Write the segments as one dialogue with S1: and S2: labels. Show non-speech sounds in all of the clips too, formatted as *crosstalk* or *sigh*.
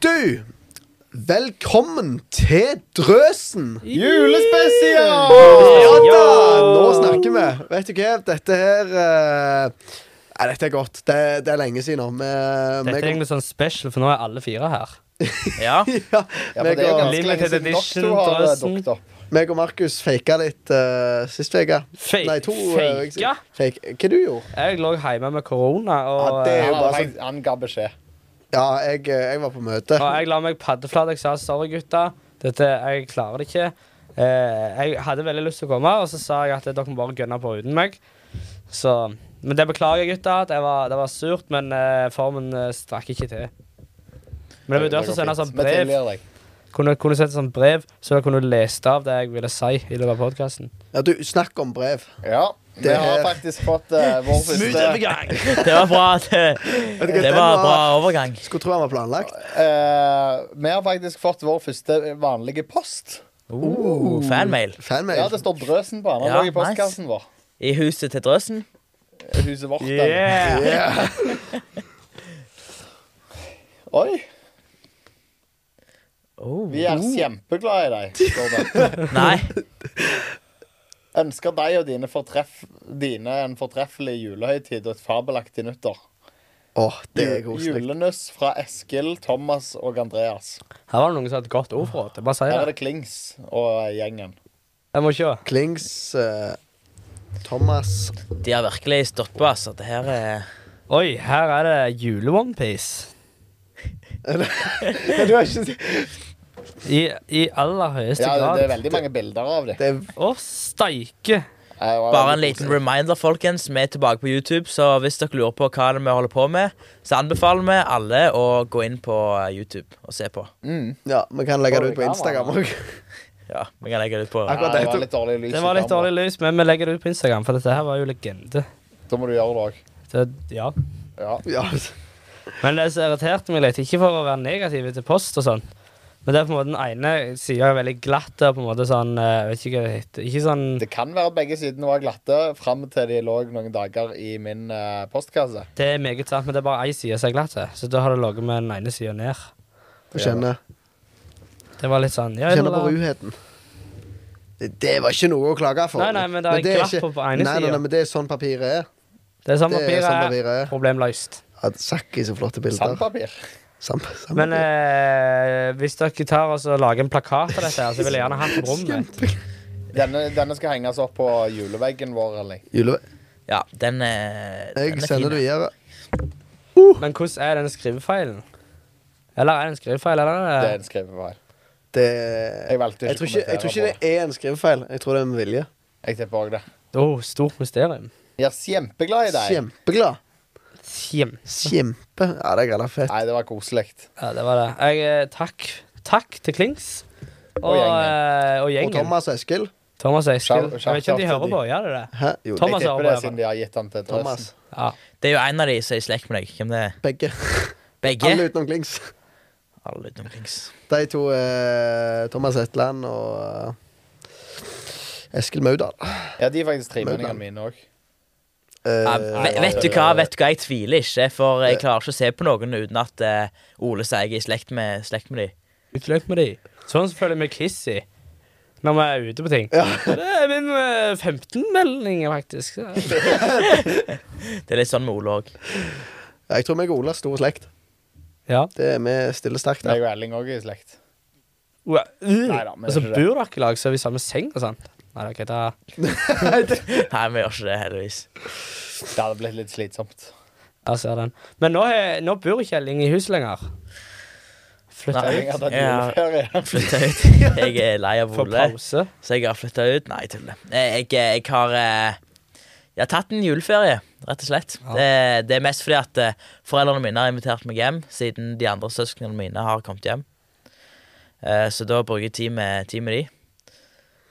S1: Du, velkommen til Drøsen!
S2: Julespesial!
S1: Ja da! Nå snakker vi. Vet du hva, dette her eh, Nei, dette er godt. Det, det er lenge siden nå. Vi-
S3: Dette er
S1: vi- *laughs*
S3: egentlig sånn special, for nå er alle fire her.
S4: Ja.
S1: Ja,
S2: Ja,
S1: meg
S2: men det er jo
S1: og-
S2: ganske lenge
S3: Limited
S2: siden
S3: edition,
S2: Doktor har eh,
S3: drøsen.
S2: dukket opp.
S1: meg og Markus faka litt eh, sist uke.
S3: Fe-
S1: Nei, to eh,
S3: faka?
S1: uker siden. Fake. Hva du gjorde
S3: Jeg lå hjemme med korona, og,
S1: Ja, det er jo
S2: Han,
S1: bare
S2: hadde faktisk- han ga beskjed.
S1: Ja, jeg, eh, jeg var på møte.
S3: og jeg la meg paddeflat. Jeg sa sorry, gutta. Dette, jeg klarer det ikke. Eh, jeg hadde veldig lyst til å komme, og så sa jeg at eh, dere må bare gønne på uten meg. Så, men det beklager jeg, gutta. at jeg var, Det var surt, men eh, formen eh, strakk ikke til. Men jeg vurderte å sende sånn
S2: Vi
S3: brev.
S2: tilgir deg.
S3: Kunne, kunne sendt sånn brev, så jeg kunne lest av det jeg ville si i løpet av podkasten.
S1: Ja, du, snakk om brev.
S2: Ja, vi
S1: Det
S2: har
S1: er-
S2: faktisk fått eh, vår første
S4: Det var bra. Det,
S1: Vet du hva,
S4: det
S1: den
S4: var bra overgang.
S1: Skulle tro han var planlagt.
S2: eh, Vi har faktisk fått vår første vanlige post.
S4: Uh, fanmail.
S1: Fanmail.
S2: Ja, det står Drøsen på den. Han
S4: Ja,
S2: lå i postkassen vår.
S4: I huset til drøsen.
S2: Huset vårt. den.
S3: Yeah!
S1: Yeah.
S2: Oi,
S4: Oh.
S2: vi er kjempeglade i deg. står det.
S1: *laughs*
S4: Nei.
S2: Ønsker deg og dine, fortreff, dine en fortreffelig julehøytid og et fabelaktig nyttår.
S1: Åh, det er koselig.
S2: Julenuss fra Eskil, Thomas og Andreas.
S3: Her var det noen som hadde et godt ord for det. Bare si
S2: Her
S3: det.
S2: er det Klings og gjengen.
S3: Jeg må se.
S1: Klings, eh, Thomas
S4: De har virkelig stått på, altså. Det her er
S3: Oi, her er det jule-onepiece.
S1: Du har ikke
S3: I, I aller høyeste
S2: Ja,
S3: grad.
S2: det er veldig mange bilder av dem.
S1: Det er
S3: Å, steike!
S4: bare en liten reminder, folkens. Vi er tilbake på YouTube, så hvis dere lurer på hva det er vi holder på med, så anbefaler vi alle å gå inn på eh, YouTube og se på.
S2: Mm.
S1: Ja, vi kan legge det ut på
S2: Origami.
S1: Instagram òg.
S4: Ja, vi kan legge det ut på
S2: Ja,
S1: Akkurat
S2: det
S1: dette-
S2: var litt dårlig lys.
S3: Det
S2: i
S3: var litt
S2: kamera.
S3: dårlig lys, men vi legger det ut på Instagram, for dette her var jo legende.
S2: Da må du gjøre det òg.
S3: Det, ja.
S2: Ja.
S1: *laughs* Ja.
S3: Men det som irriterte meg litt, ikke for å være negativ til post og sånn, men det er på en måte den ene sida er veldig glatt der, på en måte sånn eh, Vet ikke hva det heter. Ikke sånn
S2: Det kan være at begge sidene var glatte fram til de lå noen dager i min eh, postkasse.
S3: Det er meget sant, men det er bare ei side som er glatt, så da har det ligget med den ene sida ned.
S1: Få kjenne,
S3: Det var litt sånn ja,
S1: kjenne på
S3: la-
S1: ruheten. Det, det var ikke noe å klage for.
S3: Nei, nei, men det er glatt på- på ene
S1: nei, nei,
S3: siden.
S1: nei, men det er sånn papiret er.
S3: Det er samme
S1: Det er
S3: papiret.
S2: sånn
S1: samme
S3: her.
S1: papiret.
S3: Problem løst.
S1: Ja, Sakki så flotte bilder.
S2: Sandpapir.
S1: Sam, sam,
S3: Men eh, hvis dere tar oss og lager en plakat av dette, her, så vil jeg gjerne ha den på rommet.
S2: Denne, denne skal henges opp på juleveggen vår. Eller?
S1: Jule,
S4: Ja, den er, den
S1: jeg
S4: er
S1: sender
S4: fin.
S1: det videre.
S3: Men hvordan er den skrivefeilen? Eller er det en skrivefeil? Eller
S2: Det
S3: er
S2: er
S3: det?
S2: en skrivefeil.
S1: Det
S2: Jeg valgte
S1: jeg
S2: ikke
S1: tror
S2: å
S1: ikke, jeg tror ikke
S2: kommentere på det.
S1: det er en skrivefeil. Jeg tror det er med vilje.
S2: Jeg tipper òg det.
S3: Åh, stort mysterium.
S2: Jeg er kjempeglad i deg.
S1: Kjempeglad.
S3: Kjem.
S1: Kjempe. Ja, det er greit fett.
S2: Nei, det var koselig.
S3: Ja, det var det. Jeg, eh, takk. Takk til Klings. Og,
S2: Og gjengen.
S3: eh, og
S1: Og
S3: gjengen. Thomas.
S1: Thomas og Eskil.
S3: Thomas og Eskil.
S2: Shout-
S3: Jeg vet ikke om de
S2: shout out
S3: hører
S2: til
S3: på. Gjør de det?
S1: Hæ? Jo,
S3: Thomas
S2: Jeg
S3: hører på.
S2: tipper det
S3: i hvert fall.
S2: siden de har gitt den til Drøsen.
S1: Thomas.
S3: Ja.
S4: Det er jo en av de som er i slekt med deg. Hvem det er?
S1: Begge.
S4: Begge?
S1: Alle utenom Klings.
S4: Alle utenom Klings.
S1: De to er Thomas Hetland og eh, Eskil Maudal.
S2: Ja, de er faktisk tremeningene mine òg.
S1: Eh,
S4: Ja,
S2: nei,
S4: ve- vet du
S2: det-
S4: hva, vet du hva, jeg tviler ikke, for jeg klarer ikke å se på noen uten at eh, Ole sier jeg er i slekt med, slekt med de.
S3: Utløp med de. Sånn som føler jeg med Kissy når vi er ute på ting.
S1: Ja.
S3: *laughs* Det er min eh, 15-melding, faktisk. *laughs* Ja.
S4: Det er litt sånn med Ole òg.
S1: jeg tror meg og Ola er stor slekt.
S3: ja.
S1: Det er vi stiller sterkt
S2: Jeg
S1: der.
S2: og Erling òg er i slekt.
S3: Ua- uh.
S2: Neida, men
S3: og så
S2: det er
S3: bor dere
S2: ikke det.
S3: i lag, så er vi i samme seng og sånt. Nei, ok, da
S4: Nei, vi gjør ikke det, heldigvis.
S2: Det hadde blitt litt slitsomt.
S3: Jeg ser den. Men nå, er- nå bor ikke Elling i huset lenger. Flytta
S4: Nei.
S2: Jeg hadde hatt
S4: Ja.
S2: juleferie.
S4: Flytta ut. Jeg er lei av
S3: for
S4: Ole,
S3: pause.
S4: så jeg har flytta ut. Nei, tuller. Jeg, jeg, jeg har eh, Jeg har tatt en juleferie, rett og slett.
S3: Ja.
S4: Det, det er mest fordi at eh, foreldrene mine har invitert meg hjem, siden de andre søsknene mine har kommet hjem. Eh, så da bruker jeg tid med, tid med de.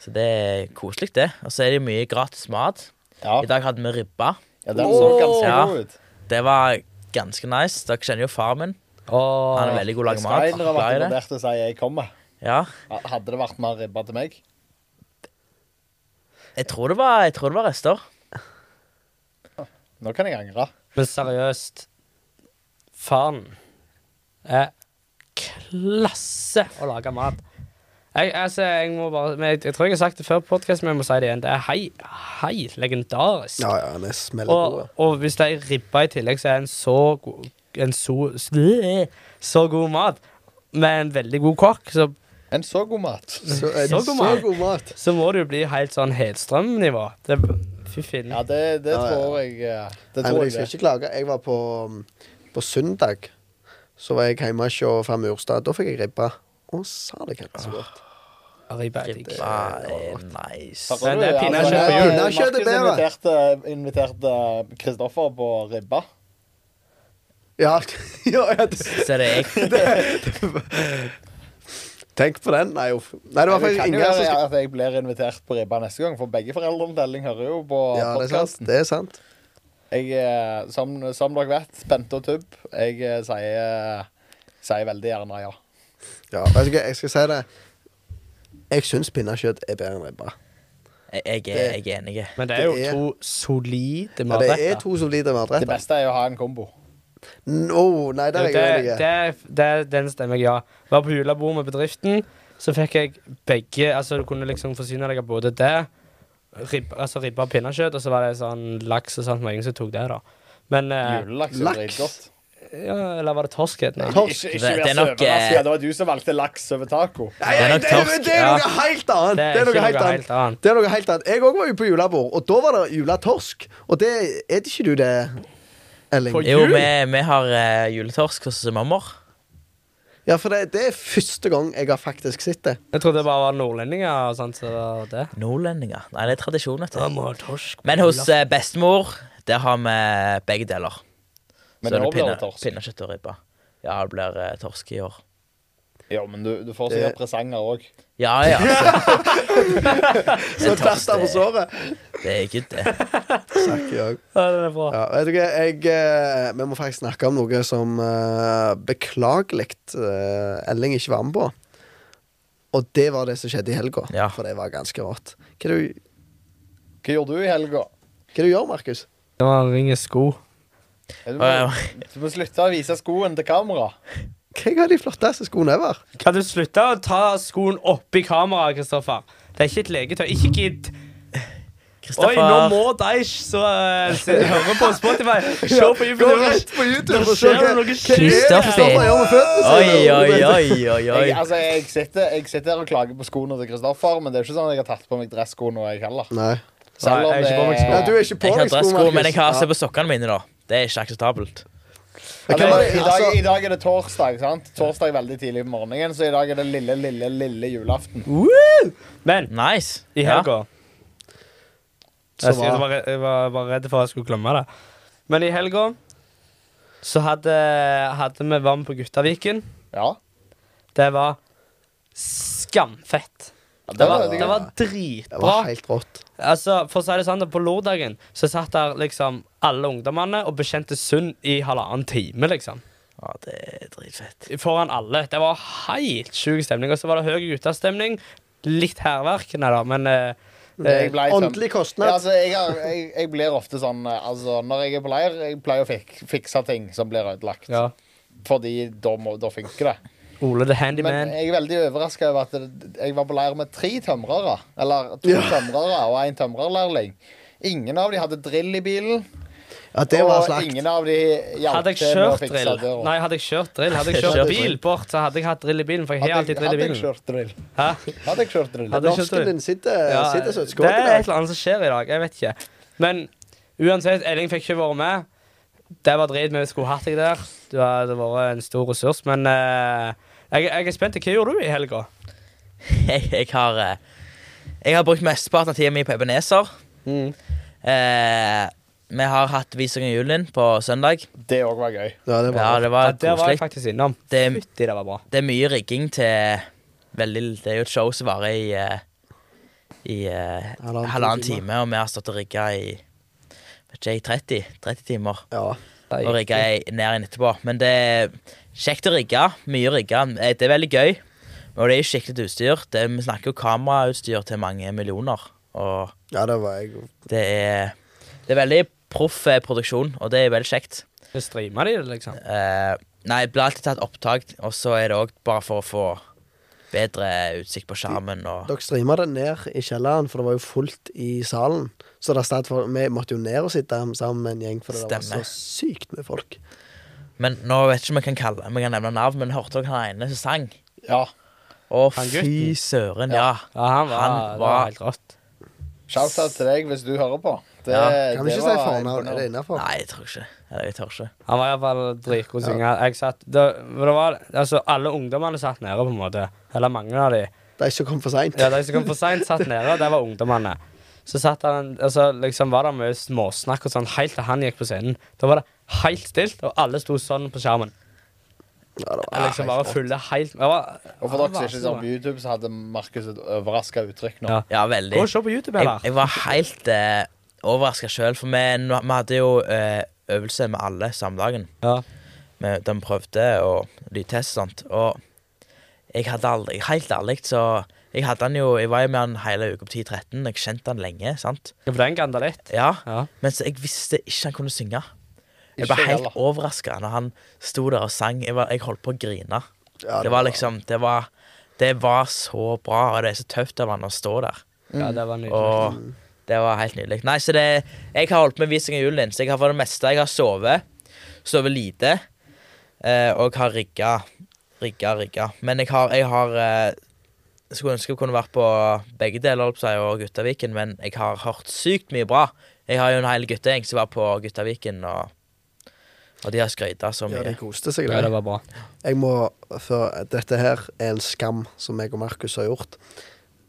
S4: Så det er koselig, det. Og så er det mye gratis mat.
S2: Ja,
S4: I dag hadde vi ribba.
S2: ja den så ganske
S4: Ja.
S2: god ut.
S4: Det var ganske nice. Dere kjenner jo far min.
S3: Og
S4: Han er veldig
S2: Jeg
S4: god til å lage
S2: skal
S4: mat.
S2: innrømme at
S4: Glad
S2: jeg
S4: i det.
S2: vurderte å si jeg kommer.
S4: Ja.
S2: Hadde det vært mer ribba til meg?
S4: Jeg tror det var, jeg tror det var rester.
S2: Nå kan jeg angre.
S3: Men seriøst, faren er klasse å lage mat. Jeg, altså, jeg, må bare, men jeg, jeg tror jeg har sagt det før på podkast, men jeg må si det igjen. Det er hei, hei, legendarisk.
S1: *laughs* Ja, ja, han er smellgod.
S3: Og, og hvis det er ribba i tillegg, så er en så god en så, så god mat med en veldig god kokk, så,
S2: En så god mat.
S1: Så, er
S3: så
S1: det
S3: god mat.
S1: så god mat.
S3: så må det jo bli helt sånn Hedstrøm-nivå. Det- Fy finn.
S2: Ja, det, det
S1: Ja, ja, ja.
S2: tror jeg eh, Det
S1: Nei, men
S2: tror
S1: jeg skal
S2: jeg. det.
S1: ikke klage. Jeg var på, mm, på søndag. Så var jeg hjemme hos fra Murstad. Da fikk jeg ribba. Å, sa det ikke så godt.
S3: Ribba er digg.
S4: Ribba er nice.
S2: Hører
S3: Men det er
S2: du,
S3: pinnekjøtt
S2: altså,
S1: på jul.
S2: Markus
S1: Pinnekjøtt er bedre.
S2: inviterte- inviterte eh, Kristoffer på ribba.
S1: Ja, *laughs* ja, ja det.
S4: Så det
S1: *laughs*
S4: er jeg.
S1: Tenk på den. Nei, uff. Nei, det var
S2: Det
S1: faktisk
S2: kan jo
S1: Ingar som
S2: være
S1: skulle
S2: at jeg blir invitert på ribba neste gang, for begge foreldrene til Elling hører jo på
S1: Ja, det er sant.
S2: podkasten.
S1: Det er sant.
S2: Jeg, eh, som, som dere vet, spente og tubb. Jeg eh, sier, sier veldig gjerne ja.
S1: Ja, vet du hva, jeg skal si det. Jeg syns pinnekjøtt er bedre enn ribba.
S4: Jeg, jeg, er- jeg er enig.
S3: Men det er jo
S1: Det er-
S3: to solide
S1: Ja, det er
S3: matretter.
S1: to solide
S2: Det
S1: matretter.
S2: beste er jo å ha en kombo.
S1: Nå, nei, der er
S3: det,
S1: jeg uenig.
S3: det, det, den stemmer jeg ja. Var på julebord med bedriften, så fikk jeg begge Altså, du kunne liksom forsyne deg av både det, rib, altså ribba og pinnekjøtt, og så var det sånn laks og sånt. Det var ingen som tok det, da. Men eh,
S2: Julelaks
S1: laks.
S2: er dritgodt.
S3: ja, Eller var det torsk? het den?
S1: Torsk.
S2: Ikke,
S4: Det-
S2: ikke vær
S4: det er
S2: så
S4: nok, eh,
S2: overraska. Det var du som valgte laks over taco.
S1: Nei,
S4: Det er
S1: nei,
S4: nok
S1: det er,
S4: torsk,
S1: det er
S4: ja.
S1: noe helt annet!
S3: Det
S1: Det
S3: er
S1: er
S3: ikke
S1: noe helt
S3: noe helt
S1: annet.
S3: annet.
S1: Det er noe helt annet. Jeg òg var ute på julebord, og da var det juletorsk. Og det er det ikke du det, Elling?
S3: For-
S4: Jo,
S3: Jul?
S4: vi, vi har eh, juletorsk hos mammaer.
S1: Ja, for det, det er første gang jeg har faktisk sett det.
S3: Jeg trodde det bare var nordlendinger og sånt. Så det var det.
S4: Nordlendinger. Nei, det er tradisjon. Vet
S3: Da
S4: du.
S3: må ha torsk.
S4: Men hos eh, bestemor, der har vi begge deler.
S2: Men
S4: Så
S2: nå
S4: er det
S2: blir det
S4: pinne-
S2: torsk.
S4: pinnekjøtt og ribbe. Ja, det blir eh, torsk i år.
S2: Ja, men du, du får sikkert
S1: Det-
S2: presanger òg.
S4: Ja, ja. Altså.
S1: Så
S4: En torsk,
S1: plaster på
S4: det-
S1: såret.
S4: Det er good, det.
S1: Snakker jeg.
S3: Ja, den er bra.
S1: Ja, vet du hva, jeg eh, Vi må faktisk snakke om noe som uh, beklagelig eh, Elling ikke var med på. Og det var det som skjedde i helga.
S4: Ja.
S1: For det var ganske rått. Hva du,
S2: Hva gjorde du i helga?
S1: hva du gjør Markus?
S3: Det var en ring i sko.
S2: Du må,
S4: Ja,
S2: du må slutte å vise skoen til kamera.
S1: Hva er de flotteste skoene ever?
S3: Kan du slutte å ta skoen oppi kameraet, Kristoffer? Det er ikke et leketøy. Ikke gidd. Oi, nå
S4: Kristoffer.
S3: må Deish så eh, se- høre på Spotify. Se på
S1: Gå
S3: YouTube.
S1: rett på YouTube
S3: Der
S1: og se
S3: ser du
S1: hva hva
S3: noe
S1: er det
S4: Kristoffer.
S1: Kristoffer gjør med føttene
S4: Oi,
S1: sine.
S4: oi, oi, oi, oi.
S2: Jeg, altså, jeg, sitter, jeg sitter her og klager på skoene til Kristoffer, men det er ikke sånn at jeg har tatt på meg dressko nå, jeg heller.
S1: Nei.
S2: Selv om
S3: Nei, jeg er ikke
S2: det
S3: på meg
S1: Nei,
S3: sko.
S1: du er ikke på
S4: Jeg har
S1: deg sko,
S4: dressko, men jeg har
S1: Markus.
S4: se på sokkene mine, da. Det er ikke akseptabelt.
S1: Ja.
S2: Altså,
S1: Hva var det-
S2: i, dag,
S1: altså-
S2: I dag er det torsdag, sant? Torsdag veldig tidlig på morgenen, så i dag er det lille, lille, lille julaften.
S3: Woo! Men
S4: Nice.
S3: i
S4: Ja.
S3: helga
S1: Så
S3: jeg, skulle
S1: bra.
S3: bare, jeg var bare redd for at jeg skulle glemme det. Men i helga så hadde, hadde vi vann på Guttaviken.
S2: Ja.
S3: Det var skamfett.
S2: Ja,
S3: Det var, det
S2: det
S3: var
S1: Det var
S3: dritbra.
S1: helt rått.
S3: Altså, for å si det sånn, På lørdagen så satt der liksom alle ungdommene og bekjente synd i halvannen time. liksom.
S4: Ja, det er dritfett.
S3: Foran alle. Det var helt sjuk stemning. Og så var det høy guttastemning. Litt hærverk, nei da, men eh, eh,
S2: Jeg ble tømt.
S1: Åndelig
S2: Ja,
S1: kostnad.
S2: altså, jeg, har, jeg, jeg blir ofte sånn eh, altså, Når jeg er på leir, jeg pleier å fik, fikse ting som blir ødelagt.
S3: ja.
S2: Fordi da, må, da funker det.
S3: Ole the
S2: Men
S3: Handyman.
S2: jeg er veldig overraska over at det- jeg var på leir med tre tømrere. Eller to tømrere og én tømrerlærling. Ingen av de hadde drill i bilen.
S1: Ja, det var
S2: og
S1: slakt.
S2: ingen av de hjalp
S3: Hadde jeg
S2: til med å
S3: kjørt
S2: fikse
S3: drill?
S2: døra.
S3: Nei, hadde jeg kjørt drill, hadde *laughs* jeg
S4: Hadde
S3: kjørt
S4: jeg kjørt
S3: bil bort, så hadde jeg hatt drill i bilen. For jeg har alltid drill i
S2: hadde jeg
S3: bilen.
S2: kjørt drill?
S3: Hæ?
S2: Hadde jeg kjørt drill?
S3: Hadde-
S1: Norsken din sitter,
S3: Ja,
S1: Eh, sitter som et skudd
S3: det
S1: i
S3: er et
S1: dag.
S3: eller annet som skjer i dag. Jeg vet ikke. Men uansett, Elling fikk ikke vært med. Det var drit, vi skulle hatt deg der. Du hadde vært en stor ressurs. Men eh, jeg, jeg er spent. Hva gjorde du i helga?
S4: Jeg, jeg har eh, Jeg har brukt mesteparten av tida mi på ebeneser. Eh, vi har hatt visning av julen på søndag.
S2: Det òg var gøy.
S1: Ja, det var
S4: Ja, det
S3: Ja,
S4: var
S3: der var jeg
S4: koselig.
S3: faktisk innom.
S4: Det, er-
S3: Fytti, det var bra.
S4: det er mye rigging til veldig Det er jo et show som varer i eh, i eh,
S1: Halvannen to
S4: halvannen
S1: timer.
S4: time, og vi har stått og rigga i vet ikke, jeg, 30, 30 timer.
S1: Ja.
S4: Og rigga jeg ned igjen etterpå. Men det er kjekt å rigge. Mye rigga. Eh, Det er veldig gøy. Og det er skikkelig utstyr. Det, vi snakker jo kamerautstyr til mange millioner. Og
S1: ja, det var jeg.
S4: det er, det er veldig proff eh, produksjon, og det er veldig kjekt.
S3: Streama de det, liksom?
S4: Eh, Nei, det blir alltid tatt opptak, og så er det òg bare for å få bedre utsikt på skjermen og
S1: Dere streama det ned i kjelleren, for det var jo fullt i salen. Så det er stadig for, vi måtte jo ned og sitte sammen med en gjeng, for det var så
S4: Stemmer.
S1: sykt med folk.
S4: Men nå vet ikke om jeg kan kalle om jeg kan nevne navn, men hørte dere han ene som sang?
S2: Ja.
S4: Å,
S3: Han
S4: fy
S3: gutten?
S4: søren, ja.
S3: Ja, han var,
S4: Han
S3: det
S4: var-
S3: var helt rått.
S2: Shout-out til deg hvis du hører på. Det,
S4: Ja.
S1: Kan vi
S2: det
S1: ikke
S2: var
S1: si fornavn?
S2: imponerende.
S1: Er det innafor?
S4: Nei, jeg tror ikke. Eller, jeg tør ikke.
S3: Han var iallfall dritgod til å synge. Jeg satt, det, men det var, altså, alle ungdommene satt nede, på en måte. Eller mange av de.
S1: Det er ikke kommet for seint.
S3: Ja, De som kom for seint, satt nede. Der var ungdommene. Så satt han, altså, liksom var det mye småsnakk og sånn helt til han gikk på scenen. Da var det helt stilt, og alle sto sånn på skjermen.
S1: Ja, det var
S3: Jeg liksom bare fulle helt det var,
S2: Og for dere som ikke ser på YouTube, så hadde Markus et overraska uttrykk nå.
S3: Ja.
S4: Ja, veldig.
S3: Gå og se på YouTube,
S4: Jeg,
S3: eller?
S4: jeg var helt eh, overraska sjøl, for vi, nå- vi hadde jo eh, øvelse med alle samme dagen.
S3: Ja.
S4: Vi, de prøvde og lydtest og sånt. Og jeg hadde aldri, helt ærlig, så jeg hadde han jo, jeg var jo med han hele uka på 10-13. Jeg kjente han lenge, sant?
S3: Ja, For den ganda litt.
S4: Ja,
S3: Ja.
S4: Men så jeg visste ikke han kunne synge. Jeg
S2: Ikke
S4: ble
S2: jeg
S4: helt
S2: heller.
S4: overraska når han sto der og sang. Jeg, var, jeg holdt på å grine.
S1: Ja, det
S4: det var liksom Det var, det var så bra, og det er så tøft av han å stå der.
S3: ja, det var nydelig.
S4: Og det var helt nydelig. Nei, så det, jeg har holdt på med visning av julen din, så jeg har for det meste jeg har sovet. Sovet lite. eh, og jeg har rigga, rigga, rigga. Men jeg har, jeg har eh, Skulle ønske jeg kunne vært på begge deler holdt på å si, og Guttaviken, men jeg har hørt sykt mye bra. Jeg har jo en hel guttegjeng som var på Guttaviken, og, og de har skryta så
S1: Ja,
S4: mye.
S1: de koste seg.
S3: Ja,
S1: der.
S3: det var bra.
S1: Jeg må før Dette her er en skam som jeg og Markus har gjort.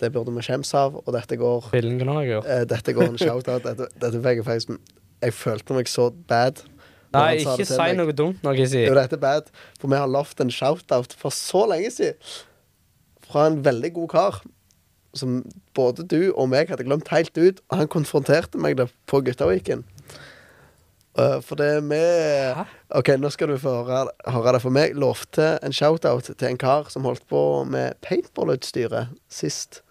S1: Det burde vi skjemmes av, og dette går
S3: Filmen kunne jeg gjort.
S1: eh, Dette går en shout-out. Dette, dette fikk jeg faktisk Jeg følte meg så bad. når
S3: Nei,
S1: han sa
S3: ikke
S1: det til
S3: si
S1: meg.
S3: noe dumt noe, si.
S1: Jo, dette er bad, for vi har lovt en shout-out for så lenge siden. Fra en veldig god kar. Som både du og meg hadde glemt helt ut. Og han konfronterte meg det på Guttaviken. Eh, for det er med
S3: Hæ?
S1: OK, nå skal du få høre, høre det. For meg lovte en shout-out til en kar som holdt på med paintballutstyret sist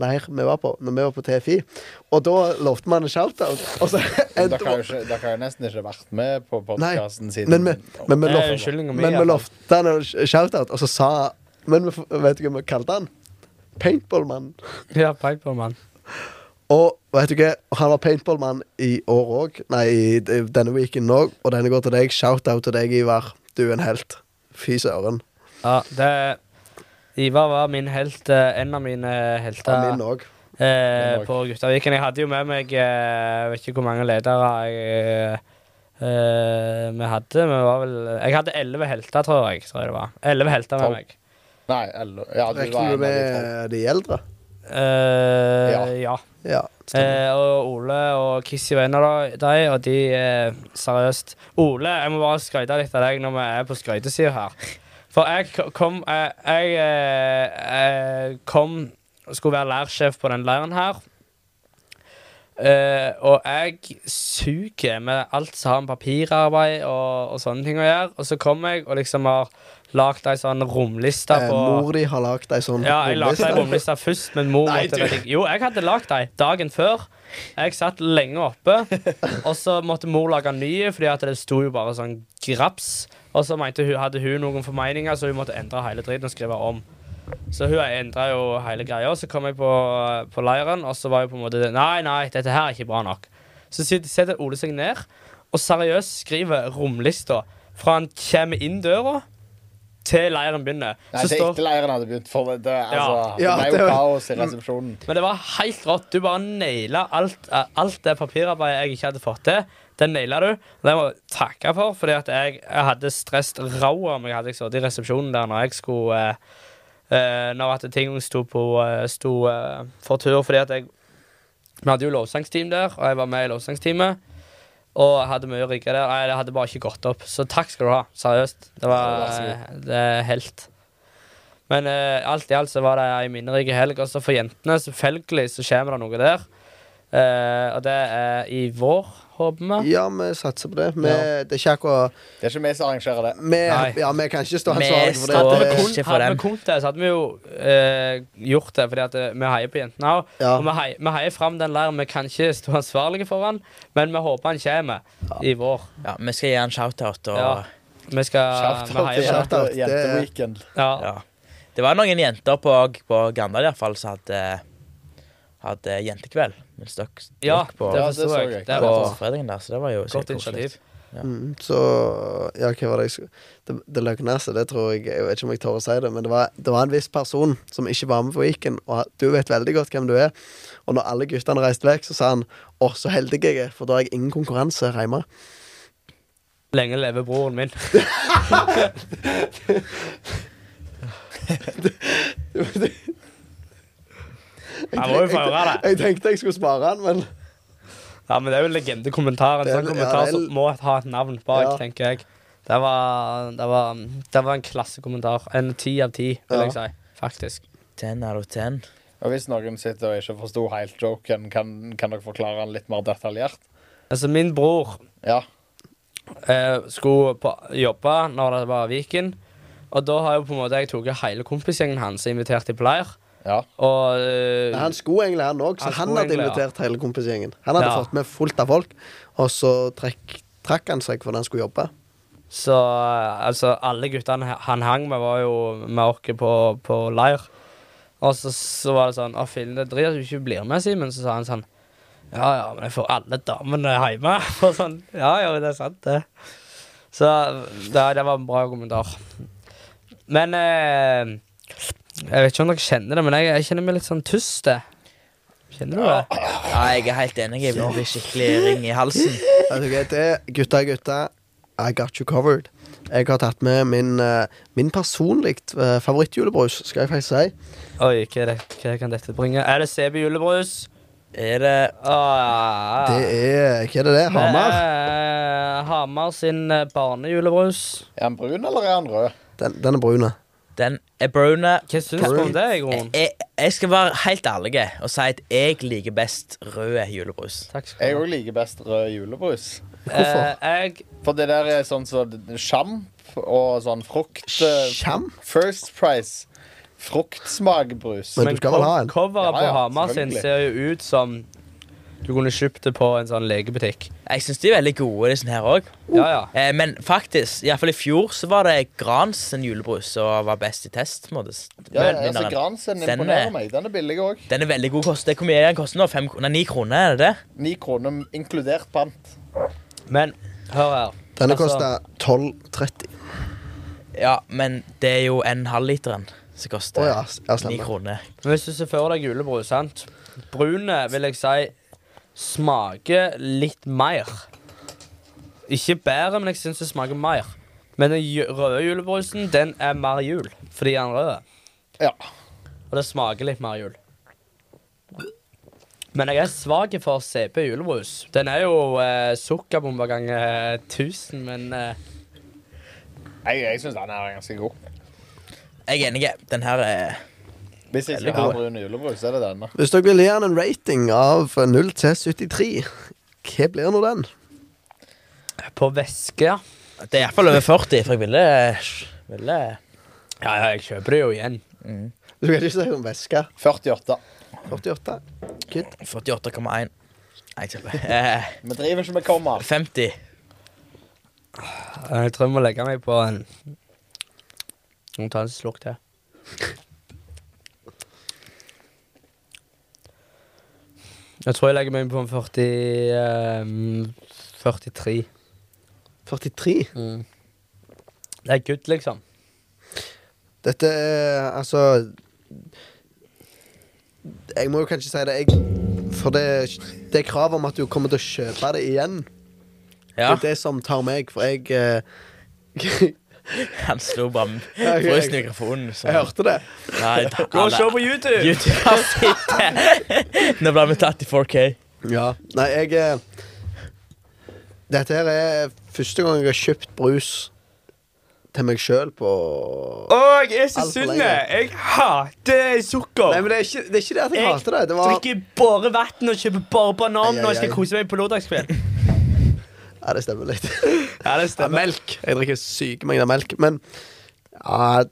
S1: leir vi var på, når vi var på TFI. Og da lovte man en shout-out. Og så
S2: Dere har jo ikke- dere har jo nesten ikke vært med på
S1: Nei,
S2: podkasten siden
S1: men vi, men vi
S3: Det er
S1: lovte Men
S3: unnskyldningen min, altså.
S1: vi
S3: iallfall.
S1: lovte han en sh- shoutout, og så sa Men vi f- vet du hva vi kalte han? Paintballmann.
S3: Ja, peip på mann.
S1: Og vet du hva, han var paintballmann i år òg. Nei, i d- denne weekenden òg. Og denne går til deg. Shoutout til deg, Ivar. Du er en helt. Fy søren.
S3: Ja, det Ivar var min helt, eh, en av mine
S1: Han
S3: helter
S1: min òg.
S3: eh,
S2: Min
S3: på Guttaviken. Jeg hadde jo med meg eh, vet ikke hvor mange ledere jeg eh, vi hadde. Vi var vel Jeg hadde elleve helter, tror jeg. tror jeg det var. 11 helter
S2: Tolv.
S3: med meg.
S2: Nei, eller Ja, du
S1: Regner
S2: var en
S1: du
S2: av de tolv.
S1: med de eldre?
S3: Eh,
S2: Ja.
S3: ja.
S1: Ja. stemmer.
S3: Eh, og Ole og Kissy var en av dem, og de eh, Seriøst. Ole, jeg må bare skryte litt av deg når vi er på skrytesida her. For jeg k- kom eh, Jeg, eh, eh, kom og skulle være lærsjef på den leiren her. Eh, og jeg suger med alt som har med papirarbeid og, og sånne ting å gjøre. Og så kom jeg og liksom har lagd ei sånn romliste
S1: Eh,
S3: på
S1: mor di har lagd ei sånn
S3: ja, jeg lagde ei
S1: bomliste.
S3: bomliste først, men mor
S2: Nei,
S3: måtte
S2: du-
S3: redigere. Jo, jeg hadde lagd ei dagen før. Jeg satt lenge oppe, og så måtte mor lage en ny, fordi at det sto jo bare sånn graps. Og så mente hun, hadde hun noen formeninger, så hun måtte endre hele driten og skrive om. Så hun endra jo hele greia. Så kom jeg på, på leiren, og så var jeg på en måte Nei, nei, dette her er ikke bra nok. Så sit- setter Ole seg ned og seriøst skriver romlista fra han kommer inn døra til leiren begynner.
S2: Nei,
S3: Så
S2: det er
S3: står-
S2: ikke leiren hadde begynt, for det, det, altså,
S1: Ja,
S2: det
S1: det
S2: ble jo
S1: var-
S2: kaos i resepsjonen.
S3: Men det var helt rått. Du bare naila alt, eh, alt det papirarbeidet jeg ikke hadde fått til. Den naila du. Og det må jeg takke for, fordi at jeg, jeg hadde stress rau om jeg hadde sittet i resepsjonen der når jeg skulle eh, eh, Når at ting sto på eh, sto, eh, for tur, fordi at jeg Vi hadde jo lovsangsteam der, og jeg var med i lovsangsteamet. Og jeg hadde mye å rigge der. Nei, det hadde bare ikke gått opp. Så takk skal du ha. Seriøst. Det var
S2: Vær så
S3: eh, det er helt. Men eh, alt i alt så var det ei minnerik helg. Og så for jentene, selvfølgelig, så kommer det noe der. Eh, og det er i vår, håper vi.
S1: Ja, vi satser på det. Vi,
S3: Ja.
S1: Det er ikke akkurat
S2: Det er ikke vi som arrangerer det.
S1: vi,
S3: Nei.
S1: ja, vi kan ikke stå
S4: Vi
S1: ansvarlig for
S4: står
S1: det.
S3: Hadde
S1: det.
S3: vi
S4: ikke
S3: kun,
S4: for
S3: hadde
S4: dem.
S3: vi kun det, så hadde vi jo eh, gjort det, fordi at eh, vi heier på jentene òg.
S1: Ja.
S3: Og vi heier, vi heier fram den leiren vi kan ikke stå ansvarlige for, den, men vi håper han kommer i vår.
S4: Ja, vi skal gi han shout-out, og
S3: Ja. Vi skal
S2: Kjapt
S3: Vi
S2: opp
S3: heier på
S1: Shout-out,
S2: jente-
S1: det-
S2: jenteweekend.
S3: det. Ja.
S4: Ja. Det var noen jenter på, på Gandal i hvert fall som hadde, hadde jentekveld. Mens dere dere
S3: ja,
S4: på,
S3: det
S2: Ja, det
S3: forstår
S2: så
S3: jeg.
S2: jeg.
S3: Det
S4: på
S3: var
S4: fredagen der, så det var jo
S3: et
S4: sikkert
S3: godt
S4: koselig.
S3: initiativ.
S1: Mm, så Ja, hva var det jeg skulle Det, det løgneste, det tror jeg Jeg vet ikke om jeg tør å si det, men det var, det var en viss person som ikke var med på Viken, og du vet veldig godt hvem du er. Og når alle guttene reiste vekk, så sa han Å, så heldig jeg er, for da har jeg ingen konkurranse her *laughs* hjemme.
S3: Lenge leve broren min. Jeg må jo få høre det.
S1: Jeg tenkte jeg skulle spare han, men
S3: Ja, men det er jo en legendekommentar. En
S1: Det er-
S3: sånn
S1: ja,
S3: kommentar
S1: det er-
S3: som må ha et navn bak,
S1: Ja.
S3: tenker jeg. Det var, det, var, det var en klassekommentar. En ti av ti, vil
S1: Ja.
S3: jeg si. Faktisk.
S4: Ten out of ten.
S2: Og hvis noen sitter og ikke forsto helt joken, kan, kan dere forklare den litt mer detaljert?
S3: Altså, min bror
S2: Ja.
S3: eh, skulle på, jobbe når det var Viken. Og da har jo på en måte jeg tatt hele kompisgjengen hans og invitert dem på leir.
S2: ja.
S3: Og eh,
S1: han skulle egentlig, han òg, så
S3: Han
S1: han,
S3: skulle
S1: hadde
S3: egentlig, ja.
S1: invitert hele kompisgjengen. Han hadde
S3: Ja.
S1: fått med fullt av folk, og så trekk, trakk han seg fordi han skulle jobbe.
S3: så eh, altså, alle guttene he- han hang med, var jo med oss på, på leir. Og så, så var det sånn Å, fillen, det driter du ikke blir med, Simen. Så sa han sånn Ja, ja, men jeg får alle damene hjemme. *laughs* Og sånn. Ja, ja, det er sant, det. Så det, det var en bra kommentar. Men eh, Jeg vet ikke om dere kjenner det, men jeg, jeg kjenner meg litt sånn tust. jeg. Kjenner du det?
S4: Ja, jeg er helt enig. Jeg blir skikkelig ring i halsen.
S1: Vet du hva det er? Gutta, gutta, I got you covered. Jeg har tatt med min, eh, min personlig eh, favorittjulebrus, skal jeg faktisk si.
S3: Oi, hva, er det, hva kan dette bringe? Er det CB julebrus?
S4: Er det
S3: Ah,
S1: Det er Hva er det det? er? Hamar?
S3: Eh, Hamar sin eh, barnejulebrus.
S2: Er han brun, eller er han rød?
S1: Den, den er brune.
S4: den Ebrona
S3: Hva syns du om det, Jon?
S4: jeg, jeg skal være helt ærlig og si at jeg liker best rød julebrus.
S3: Takk skal
S2: Jeg
S3: du ha.
S2: òg liker best rød julebrus.
S1: Hvorfor?
S3: Eh, jeg,
S2: For det der er sånn som sjamp og sånn frukt... eh,
S1: Kjam?
S2: First Price. Fruktsmakbrus.
S1: Men du skal vel ha en?
S3: Coveret
S2: Ja,
S3: på
S2: ja,
S3: Hamar sin
S2: selvfølgelig.
S3: ser jo ut som du kunne kjøpt det på en sånn legebutikk.
S4: Jeg syns de er veldig gode, disse her òg.
S3: Ja, ja.
S4: Eh, men faktisk, iallfall i fjor, så var det Grans sin julebrus som var best i test. på en måte.
S2: Ja,
S4: Men-
S2: altså,
S4: vinneren.
S2: Gransen
S4: Den er-
S2: imponerer meg. Den er billig òg.
S4: Den er veldig god kost. Det er Hvor mye er den koster nå? Fem kroner? Nei, Ni kroner, er det det?
S2: Ni kroner inkludert pant.
S3: Men hør her.
S1: Denne
S3: Altså,
S1: koster 12,30.
S4: Ja, men det er jo en halvliteren som koster
S1: Å ja, ja,
S4: ni
S1: stemmer.
S4: kroner.
S3: Hvis du ser for deg julebrus, sant Brune vil jeg si smaker litt mer. Ikke bedre, men jeg syns det smaker mer. Men den ju- røde julebrusen, den er mer jul fordi den er rød.
S2: Ja.
S3: Og det smaker litt mer jul. Men jeg er svak for CP julebrus. Den er jo eh, sukkerbombe ganger 1000, men eh,
S2: Jeg, jeg syns den er ganske god.
S4: Jeg er enig. Den her er
S2: Hvis jeg skal
S4: Veldig
S2: ha
S4: god.
S2: brun julebrus, så er det denne.
S1: Hvis dere vil gi han en rating av 0 til 73, hva blir nå den?
S3: på væske ja.
S4: Det er iallfall over *laughs* 40, for jeg ville, eh, ville
S3: ja, ja, jeg kjøper det jo igjen.
S1: Du kan ikke si om væske.
S2: 48.
S1: 48. Good.
S4: 48,1. Nei, jeg tuller. Eh,
S2: Vi driver ikke med kommer.
S4: 50.
S3: Jeg tror jeg må legge meg på en Jeg må ta en slurk til. Jeg tror jeg legger meg på en 40 eh, 43.
S1: 43.
S3: Mm. Det er good, liksom.
S1: Dette er altså Jeg må jo kanskje si det, jeg, for det, det er krav om at du kommer til å kjøpe det igjen. Det
S4: Ja,
S1: er det som tar meg, for jeg *laughs* eh,
S4: han slo bare
S1: jeg-
S4: brusen i mikrofonen. Så.
S1: Jeg hørte det. *laughs*
S4: Nei, da-
S3: Gå og
S4: alle-
S3: se på YouTube!
S4: YouTube sitter. *laughs* Nå ble vi tatt i 4K.
S1: Ja. Nei, jeg eh, Dette her er første gang jeg har kjøpt brus til meg sjøl på
S3: Å, jeg er så
S1: Alt
S3: eh.
S1: for
S3: sunn!
S1: lenge.
S3: Jeg hater sukker.
S1: Nei, men det er ikke det, er ikke det at jeg hater det. Det var
S3: drikker bare vann og kjøper bare banan
S1: Ai, ai,
S3: når jeg skal
S1: ai.
S3: kose meg på lørdagskveld.
S1: Ja, det stemmer litt.
S3: *laughs* Ja, det
S1: Ja, melk. Jeg drikker syke mengder melk, men ja,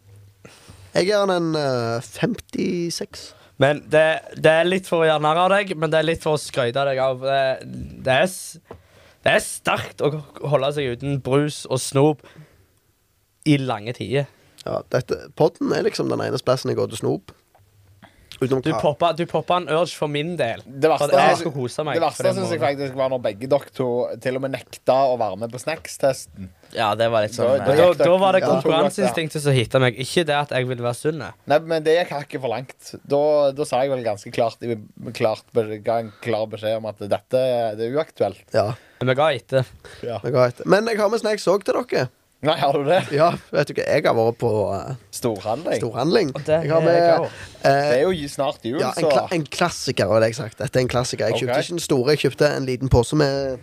S1: Jeg gir han en eh, 56.
S3: Men det, det er litt for å gjøre narr av deg, men det er litt for å skryte av deg av. Det, det, er, s- det er sterkt å holde seg uten brus og snop i lange tider.
S1: Ja, dette, podden er liksom den eneste plassen jeg går til snop. Utenom
S3: Du
S1: ka-
S3: poppa, du poppa en urge for min del.
S2: Det verste,
S3: For at jeg
S2: synes-
S3: skulle kose meg.
S2: det
S3: for
S2: verste
S3: den
S2: syns
S3: måneden.
S2: jeg faktisk var når begge dere to til og med nekta å være med på snackstesten.
S4: Ja, det var litt sånn
S2: Da-
S4: eh,
S3: da, da var det
S2: Ja.
S3: konkurranseinstinktet som hitta meg, ikke det at jeg ville være sunn.
S2: Nei, men det gikk hakket for langt. Da, da sa jeg vel ganske klart, klart ga en klar beskjed om at dette det er uaktuelt.
S1: Ja,
S3: Men vi ga etter.
S1: det går etter. Men jeg har med snacks òg til dere.
S2: Nei, har du det?
S1: Ja, vet du hva, jeg har vært på eh,
S2: Storhandling.
S1: storhandling.
S3: Og det
S1: Jeg har
S3: er
S1: med
S3: jeg også.
S2: Det
S1: eh,
S2: er jo snart jul,
S1: ja, en,
S2: så
S1: kla en klassiker, hadde jeg sagt. Dette er en klassiker. Jeg kjøpte
S2: Ok.
S1: ikke den store, jeg kjøpte en liten pose med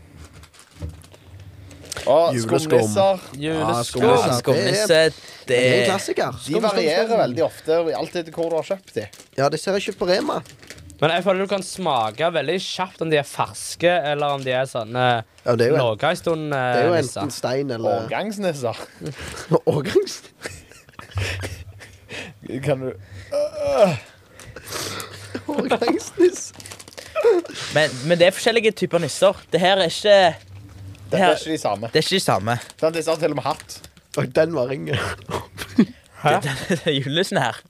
S2: Og
S1: Juleskum.
S2: skumnisser.
S1: Juleskum.
S3: Juleskum.
S1: Ja,
S4: Skumnisse. Det
S1: Det er en
S4: er
S1: klassiker.
S2: De varierer veldig ofte, alt etter hvor du har kjøpt de.
S1: Ja, disse har jeg kjøpt på Rema.
S3: Men jeg føler du kan smake veldig kjapt om de er ferske, eller om de er sånne
S1: Ja, det er jo, en,
S3: låga en stund. eh,
S1: det er jo
S3: nisser.
S1: enten stein eller *laughs*
S2: Årgangsnisser.
S1: årgangs.
S2: Kan du
S1: Årgangsniss.
S4: men, men det er forskjellige typer nisser. Det her er ikke det,
S2: Dette
S4: her,
S2: er ikke de samme.
S4: det er ikke de samme.
S2: Sånn, disse har til og med hatt.
S1: Og den var ringen.
S3: Hæ?
S4: Det er julenissen her.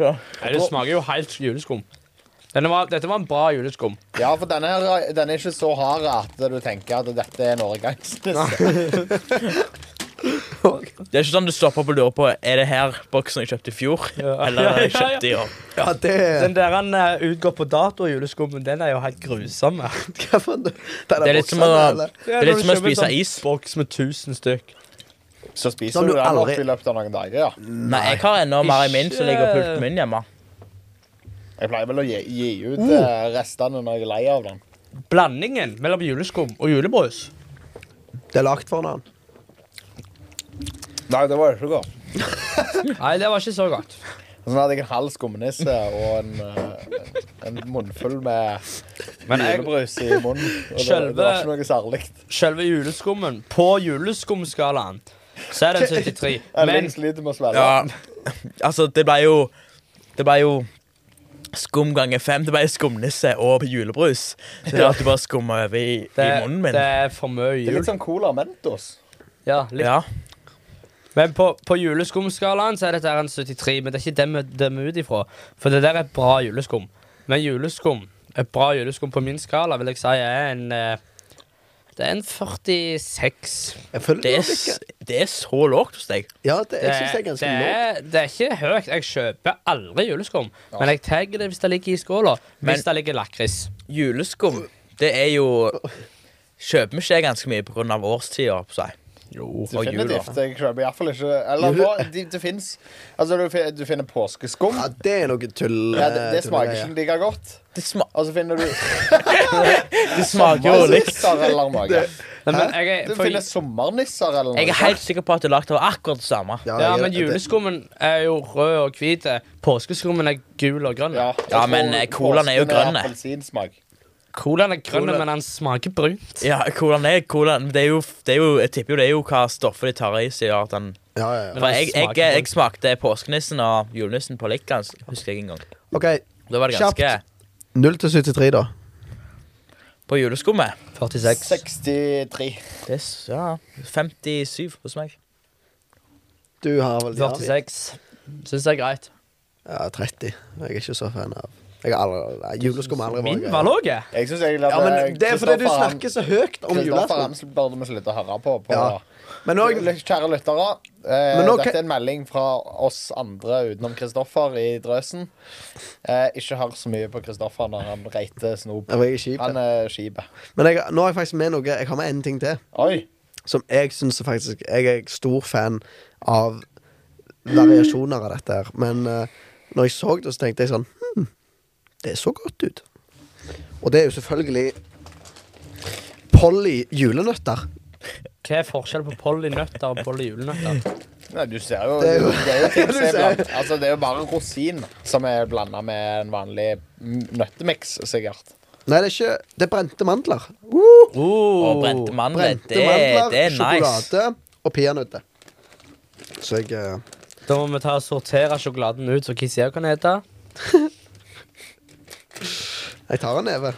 S3: Nei, det smaker jo helt juleskum. Denne var, dette var en bra juleskum.
S2: Ja, for denne her, den er ikke så hard at du tenker at dette er en årgangsnisse.
S4: Det er ikke sånn du stopper opp og lurer på Er det her boksen jeg kjøpte i fjor,
S3: Ja.
S4: *laughs* eller er det jeg
S3: Ja, ja, ja.
S4: kjøpte i år.
S1: *laughs* Ja, det
S3: Den der han eh, utgår på dato, juleskummen, den er jo helt grusom. eh.
S1: *laughs* Hva for en Det
S4: Det er litt som å, det er litt som å spise
S3: sånn
S4: is.
S3: Boks med 1000 stykk.
S2: Så
S1: Som
S2: spiser
S1: du
S2: du den opp
S1: aldri-
S2: i løpet av noen dager, ja.
S4: Nei, jeg har ennå mer i min som ligger på pulten min hjemme.
S2: Jeg pleier vel å gi, gi ut
S1: Mm.
S2: eh, restene når jeg er lei av den.
S3: Blandingen mellom juleskum og julebrus.
S1: Det er lagt for den.
S2: Nei, det var ikke godt.
S3: Nei, det var ikke så godt.
S2: Sånn hadde jeg en halv skumnisse og en, eh, en munnfull med
S3: Men jeg-
S2: julebrus i munnen. Og det,
S3: Selve-
S2: det var ikke noe særlig.
S3: Selve juleskummen, på juleskumskalaen, så er det en 73.
S2: Jeg
S3: Men
S2: men, sliter med å svelge.
S4: Ja, *laughs* altså, det ble jo Det ble jo skum ganger fem. Det ble skumnisse og julebrus. Så det er at du bare skummer over i, i
S3: det,
S4: munnen min.
S3: det er for mye
S2: Det er
S3: jul.
S2: litt sånn Cola Mentos.
S3: Ja, litt
S4: Ja.
S3: Men på, på juleskumskalaen så er dette her en 73, men det er ikke den vi dømmer ut ifra. For det der er bra juleskum. Men juleskum, et bra juleskum på min skala, vil jeg si er en eh, Det er en 46.
S1: Jeg føler
S4: Det
S1: det
S4: er,
S1: ikke.
S4: s- det er så lågt hos deg.
S1: Ja, det, jeg synes det er ganske
S3: det
S1: lågt.
S3: er- det er ikke høyt. Jeg kjøper aldri juleskum. Men jeg tar det hvis det ligger i skåla.
S4: Men-
S3: Hvis det ligger lakris.
S4: Juleskum, det er jo Kjøper vi ikke ganske mye pga. årstida, på seg. og jul, da.
S2: Definitivt. Jeg kjøper iallfall ikke Eller nå, det, det fins Altså, du, fin- du finner påskeskum.
S1: Ja, det er noe tull. eh,
S2: Ja, det, det
S1: tull-
S2: smaker ikke like godt.
S4: Det, sma
S2: Og så finner du
S4: det smaker jo likt.
S2: sommernisser eller noe.
S3: Nei, men jeg, er-
S2: Du
S3: for,
S2: finner sommernisser eller noe.
S4: Jeg er helt sikker på at det er lagd av akkurat det samme.
S3: ja,
S1: jeg-
S3: men
S1: det-
S3: juleskummen er jo rød og hvit. Påskeskummen er gul og grønn.
S2: Ja, jeg
S4: Ja, men,
S2: tror
S4: eh, colaen er jo
S2: påsken
S4: grønne.
S2: Appelsinsmak.
S3: Colaen er grønn,
S1: Cola-
S3: men den smaker brunt.
S4: Ja, hvordan er hvordan, det er, jo, det er jo, Jeg tipper jo det er jo hva stoffet de tar i som gjør at den
S1: Ja, ja, ja.
S4: For jeg, jeg,
S3: smaker
S4: jeg,
S3: godt.
S4: smakte påskenissen og julenissen på likt, gans- husker jeg en gang.
S1: OK.
S4: Da var det ganske
S1: Kjapt. 0 til 73, da.
S4: På juleskummet.
S3: 46.
S2: 63.
S4: Det er s- ja, 57 hos meg.
S1: Du har vel ja, vi-
S3: 46. Syns det er greit.
S1: Ja, 30. Jeg er ikke så fan av Jeg har aldri nei, Juleskum har aldri
S3: Min
S1: greia.
S3: var lav.
S2: Jeg synes egentlig at
S1: Ja,
S2: eh,
S1: men Det er fordi du
S2: Kristoffer, han-
S1: snakker så høyt om
S2: Kristoffer
S1: juleskum.
S2: Hansel burde vi slutte å høre på. på
S1: Ja. Men òg
S2: Lytt- Kjære lyttere, eh,
S1: Men nå kan-
S2: dette er en melding fra oss andre utenom Kristoffer i drøsen. Eh, ikke hør så mye på Kristoffer når han reiter snop.
S1: Jeg er kjip.
S2: Han er skipet.
S1: Men jeg, nå har jeg faktisk med noe. Jeg har med én ting til.
S2: Oi!
S1: som jeg syns faktisk Jeg er stor fan av variasjoner av dette her. Men eh, når jeg så det, så tenkte jeg sånn Hm, det så godt ut. Og det er jo selvfølgelig Polly julenøtter.
S3: Hva er forskjellen på pollinøtter og pollyjulenøtter?
S2: Nei, du ser jo
S1: Det er jo- *laughs*
S2: Det er jo, ting som
S1: Du
S2: er
S1: ser-
S2: blant, altså, det er jo bare rosin som er blanda med en vanlig nøttemiks, sikkert.
S1: Nei, det er ikke Det er brente mandler.
S4: Og brente mandler.
S1: Brente
S4: Det, er-
S1: mandler,
S4: det er nice.
S1: sjokolade og peanøtter. Så jeg eh,
S3: Da må vi ta og sortere sjokoladen ut, så Kissy òg kan hete.
S1: Jeg tar en neve.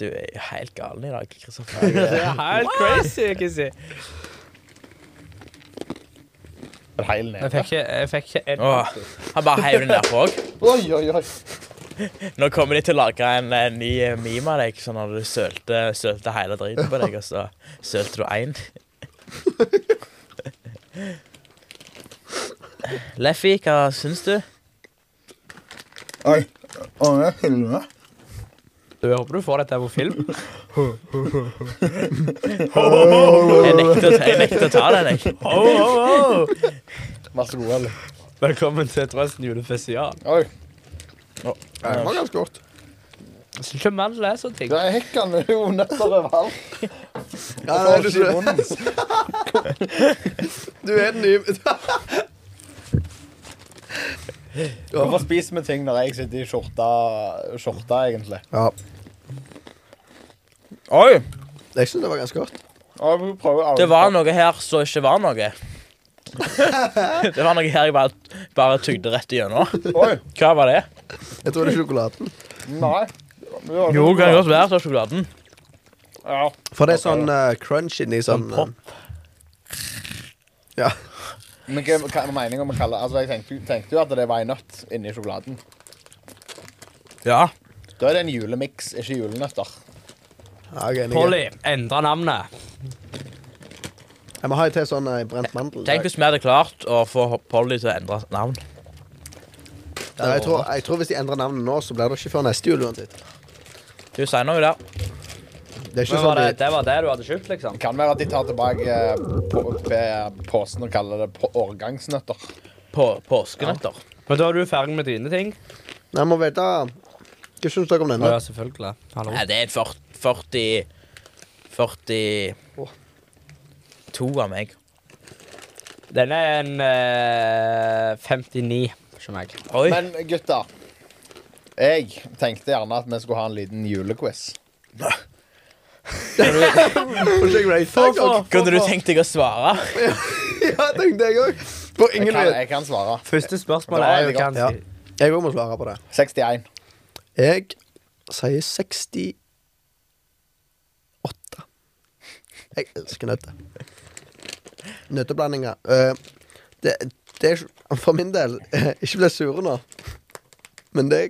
S4: Du er jo helt galen i dag, Kristoffer.
S1: *laughs*
S3: Det er helt crazy, Kizzy.
S2: En hel
S3: Jeg
S2: ned.
S3: fikk ikke, jeg fikk ikke en
S4: Åh, han bare heiv den derfra òg.
S2: Oi, oi, oi.
S4: *laughs* Nå kommer de til å lage en, eh, ny eh, meme av deg, sånn når du sølte, sølte hele driten på deg, og så sølte du én. *laughs* Leffy, hva syns du?
S5: Oi. Å, jeg filmer.
S3: Du, jeg håper du får dette på film.
S4: Jeg nekter, å ta- jeg nekter å ta den, jeg. Ho, ho, ho.
S2: Vær så god, eller?
S3: Velkommen til Trøsten julespesial.
S2: Oi.
S1: Det var ganske godt.
S3: Jeg syns ikke man leser ting.
S2: Der er hekkene jo *laughs* nøtter overalt.
S1: Ja,
S2: Får
S1: nei,
S2: ikke
S1: du,
S2: i munnen.
S1: *laughs*
S2: *laughs*
S1: du er den nye *laughs*
S2: Hvorfor spiser vi ting når jeg sitter i skjorta, skjorta egentlig?
S1: Ja.
S4: Oi!
S1: Jeg syns det var ganske godt.
S2: Og jeg prøver aldri.
S4: Det var noe her som ikke var noe. *laughs* Det var noe her jeg bare, bare tygde rett igjennom.
S2: Oi,
S4: Hva var det?
S1: Jeg tror det er sjokoladen.
S2: nei. Det var
S4: Jo, kan godt være så sjokoladen.
S2: Ja.
S1: For det er sånn eh, crunch inni sånn
S4: Sånn
S1: eh, Ja.
S2: Men hva hva er meningen om å kalle Altså, jeg tenkte, tenkte jo at det var en nøtt inni sjokoladen.
S4: Ja.
S2: Da er det en julemiks, ikke julenøtter.
S1: ja jeg er enig.
S3: Polly, endre navnet.
S1: Jeg må ha en til sånn eh, brent mandel.
S4: Tenk hvis vi hadde klart å få Polly til å endre navn.
S1: Ja, jeg, tror, jeg tror Hvis de endrer navnet nå, så blir det ikke før neste jul uansett.
S4: Du sier noe der.
S1: Det er ikke
S3: Men var
S1: sånn
S3: det,
S1: de-
S3: det var det du hadde kjøpt, liksom?
S2: Det kan være at de tar tilbake eh, på, på- posen og kaller det på årgangsnøtter.
S4: På, påskenøtter.
S3: Men da er du ferdig med dine ting?
S1: Nei, Jeg må vite Hva syns dere om
S3: Å
S1: denne?
S3: ja, selvfølgelig. Hallo.
S4: Nei, det er en 40 40
S1: Åh.
S4: To av meg.
S3: Den er en eh, 59, som jeg.
S4: Oi.
S2: Men gutter, jeg tenkte gjerne at vi skulle ha en liten julequiz.
S1: *laughs* Får ikke jeg rate deg også?
S4: Kunne du tenkt deg å svare?
S1: *laughs* Ja, tenkte jeg òg. På
S2: Jeg
S1: ingen
S2: kan,
S1: måte.
S2: jeg kan svare.
S3: Første spørsmål
S2: Da er
S3: er
S2: det
S3: jo
S2: godt,
S1: ja.
S3: ganske
S1: Jeg òg må svare på det.
S2: 61.
S1: Jeg sier 68. Jeg elsker nøtter. Nøtteblandinger. Eh, det, det er ikke- for min del *laughs* eh, Ikke bli sure nå, men det,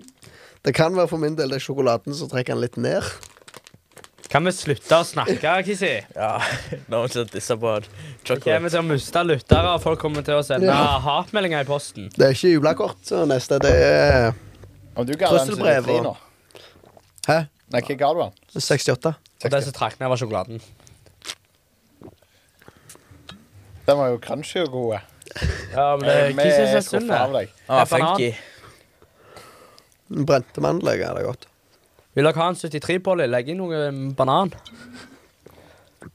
S1: det kan være for min del det er sjokoladen som trekker den litt ned.
S3: Kan vi slutte å snakke, Kissy?
S4: Ja. Nå må vi ikke disse på
S3: Okay,
S4: chocolate.
S3: vi skal miste lyttere, og folk kommer til å sende
S1: Ja.
S3: hatmeldinger i posten.
S1: Det er ikke julekort så neste. Det er
S2: Om du ga den
S1: Trusselbrev
S2: 73
S1: og-
S2: nå
S1: Hæ?
S2: Nei, hva ga du den?
S1: 68.
S3: Og det som trakk ned, var sjokoladen.
S2: Den var jo crunchy og
S3: Eh,
S2: god.
S3: Ja, men det,
S2: Eh, Vi
S3: Kissy
S2: er
S3: er
S2: skuffet
S3: sunn,
S2: av
S3: det.
S2: deg.
S4: Ah, funky.
S1: Brente mandler er det godt.
S3: Vil dere ha en 73-bolle? Legg inn noe mm, banan.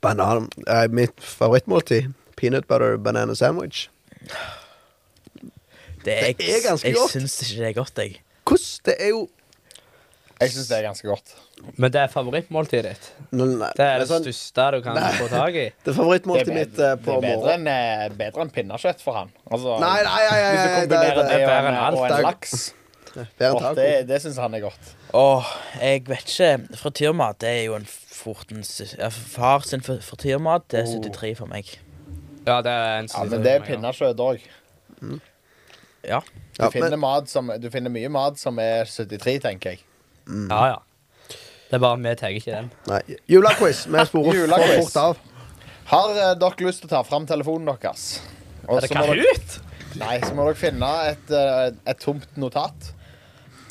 S1: Banan er mitt favorittmåltid. Peanut butter banana sandwich.
S4: Det er,
S1: Det er ganske
S4: jeg,
S1: godt.
S4: jeg syns ikke det er godt, jeg.
S1: Hvordan? Det er jo
S2: Jeg syns det er ganske godt.
S3: Men det er favorittmåltidet ditt.
S1: Nei,
S3: Det er det
S1: sånn-
S3: største du kan få tak
S1: Det
S3: i.
S1: er
S2: Det er,
S1: favorittmåltidet mitt eh,
S2: bedre, det
S1: på
S2: er bedre
S1: morgenen.
S2: enn eh, bedre enn pinnekjøtt for han. Altså,
S1: Nei, nei, nei, nei,
S2: hvis du
S1: nei, nei, nei,
S2: kombinerer det,
S3: det er
S2: og
S3: bedre
S2: en,
S3: enn
S2: og
S1: alt.
S2: en laks,
S1: nei. Bedre
S2: og
S1: enn
S2: det,
S1: taco.
S2: det syns han er godt.
S4: Åh, jeg vet ikke. Frityrmat det er jo en fortens ja, Far sin fr- frityrmat, det er 73 for meg.
S3: Ja, det er en
S2: *laughs* Ja, men det er pinnekjøtt òg.
S4: Ja.
S2: Du,
S1: Ja,
S2: finner
S1: men-
S2: mat som- du finner mye mat som er 73, tenker jeg.
S3: Ja, ja. Det er bare vi tar ikke den.
S1: Nei, Julequiz. Vi sporer for
S2: Julequiz.
S1: fort av.
S2: Har eh, dere lyst til å ta fram telefonen deres? Og
S3: Er det
S2: så må dere-
S3: Kahoot?
S2: Nei, så må dere finne et, eh, et tomt notat.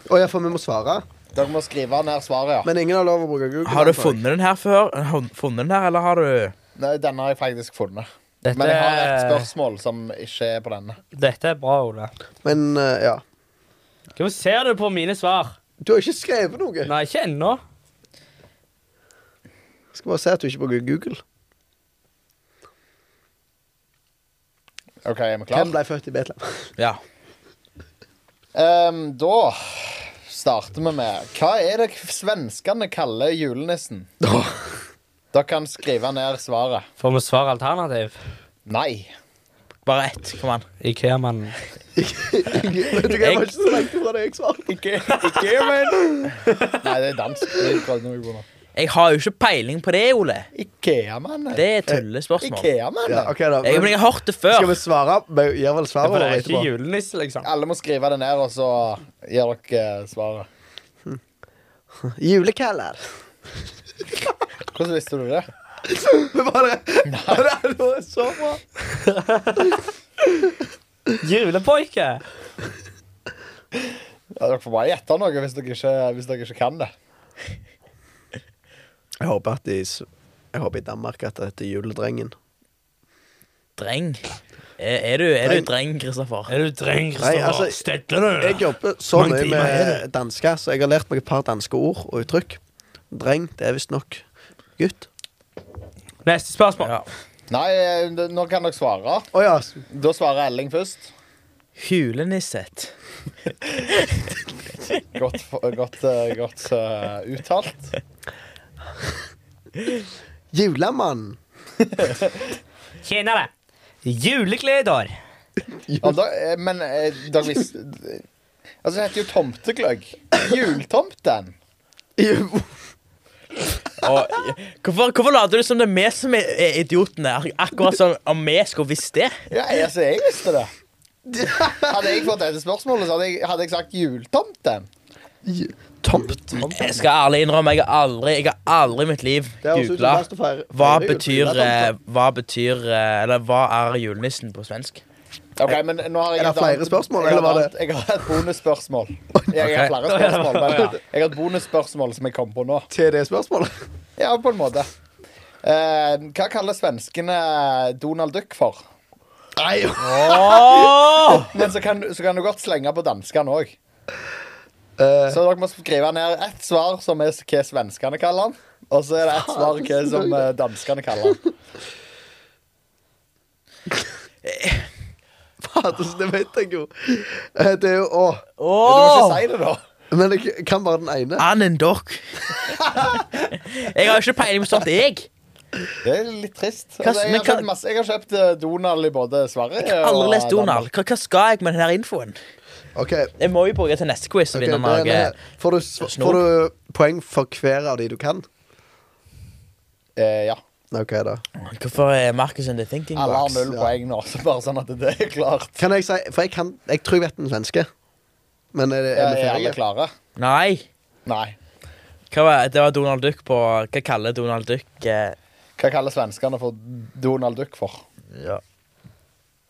S1: Å ja, for vi må svare.
S2: Dere må skrive ned svaret, ja.
S1: Men ingen har lov å bruke Google.
S4: Har
S1: antar
S4: du
S1: jeg.
S4: funnet den her før? Hun- Funnet den her, eller har du
S2: Nei, Denne har jeg faktisk funnet.
S3: Dette
S2: Men jeg har et
S3: er-
S2: spørsmål som ikke er på denne.
S3: Dette er bra, Ole.
S1: Men eh, ja.
S3: Hvorfor ser du på mine svar?
S1: Du har ikke skrevet noe.
S3: Nei, ikke ennå.
S1: Skal bare se at du ikke bruker Google.
S2: OK, er vi
S1: Hvem
S2: klare?
S1: ble født i Betlehem? *laughs*
S4: Ja.
S2: Ehm, da starter vi med Hva er det svenskene kaller julenissen? Dere kan skrive ned svaret.
S3: Får vi svar alternativ?
S2: Nei.
S4: Bare ett. Kom an.
S3: Ikea-mannen.
S1: Vet du hva, jeg var ikke så langt ifra det jeg svarte.
S2: Ikke, ikke men Nei, *laughs* det er dansk. Det prøvde vi på nå.
S4: Jeg har jo ikke peiling på det, Ole.
S2: Ikea-mannen.
S4: Det er tullespørsmål.
S2: Ikea-mannen.
S1: Ja, OK, da.
S4: Jeg, men jeg har hørt det
S1: skal vi
S4: før.
S1: svare? Vi gjør vel
S3: Ja,
S1: svaret
S3: for det
S1: vårt
S3: er ikke
S1: etterpå.
S3: julenisse, liksom.
S2: Alle må skrive det ned, og så gir dere eh, svaret.
S1: *laughs* Julekaller.
S2: Hvordan visste du det?
S1: Bare *laughs* Det er så bra.
S3: *laughs* Julepoike!
S2: Ja, Dere får bare gjette noe hvis dere ikke, hvis dere ikke kan det.
S1: Jeg håper at i, s- jeg håper i Danmark at det heter Juledrengen.
S4: Dreng. Er, er, du, er du dreng, Kristoffer?
S3: Er du dreng,
S1: Nei, altså, Jeg jobber så
S4: Mange
S1: mye
S4: timer er
S1: med dansker, så jeg har lært meg et par danske ord og uttrykk. Dreng, det er visstnok gutt.
S3: Neste spørsmål.
S4: Ja.
S2: Nei, eh, nå kan dere svare.
S1: Å ja.
S2: Da svarer Elling først.
S4: Hulenisset.
S2: Godt, f- godt, eh, godt eh, uttalt.
S4: *laughs*
S1: Julemann.
S3: Tjenere. Julegleder.
S2: Ja, da, eh, men eh, dere
S1: *laughs*
S2: visste Altså, det heter jo tomtegløgg. Jultomten.
S1: Jo.
S4: Og, hvorfor, hvorfor later du som det er vi som er, er idiotene? Ak- Akkurat som om vi skulle visst det.
S2: Ja, jeg- altså, jeg visste det. Hadde jeg fått dette spørsmålet, så hadde jeg, hadde jeg sagt jultomten.
S1: Ju- Tomt.
S4: Jeg skal ærlig innrømme, jeg har aldri, jeg har aldri i mitt liv googla hva betyr, eh, hva betyr eh, Eller hva er julenissen på svensk?
S2: Ok, men nå har jeg
S1: Er det
S2: et annet-
S1: flere spørsmål,
S2: Jeg har,
S1: eller var
S2: et
S1: det-
S2: annet- jeg har et
S1: *laughs*
S2: bonusspørsmål. Jeg, jeg har
S4: Ok.
S2: flere spørsmål, men jeg har et bonusspørsmål som jeg kom på nå.
S1: Til det
S4: *laughs*
S1: spørsmålet?
S2: Ja, på en måte. Eh, hva kaller svenskene Donald Duck for?
S1: Nei, jo.
S4: Åh!
S2: Men så kan, så kan du godt slenge på danskene òg.
S1: Eh, *laughs*
S2: Så dere må skrive ned ett svar som er hva svenskene kaller han. Og så er det ett svar hva som eh, danskene kaller han.
S1: Fader, så det vet jeg jo. Eh, Det er jo Å.
S2: Du må ikke
S4: Åh!
S2: si det, da.
S1: Men jeg kan bare den ene.
S4: Annen dokk. Jeg har ikke peiling på sånt, jeg.
S2: Det er litt trist.
S4: Hva-
S2: Altså, jeg,
S4: men
S2: har
S4: hva-
S2: kjøpt masse, jeg har kjøpt eh, Donald i både Sverige
S4: Jeg har
S2: og
S4: aldri lest Donald.
S2: Danmark.
S4: Hva, hva skal jeg med denne infoen?
S1: OK.
S4: Jeg må jo bruke til neste quiz og
S1: ok, det
S4: vinne
S1: er
S4: noe.
S1: det her. Får, du, sv-
S4: Snop.
S1: får du poeng for hver av de du kan?
S2: Eh, ja.
S1: OK, da.
S4: Hvorfor er Markus in the thinking
S2: Alle har
S4: box?
S2: null
S1: ja.
S2: poeng nå, *laughs* så bare sånn at det er klart.
S1: Kan jeg si For jeg kan Jeg tror jeg vet den svenske. Men er, det, er
S2: Eh,
S1: vi
S2: Er alle
S1: ferdige?
S2: klare?
S4: Nei.
S2: Nei.
S4: Hva var, det var Donald Duck på Hva kaller Donald Duck eh,
S2: Hva kaller svenskene for Donald Duck for?
S4: ja.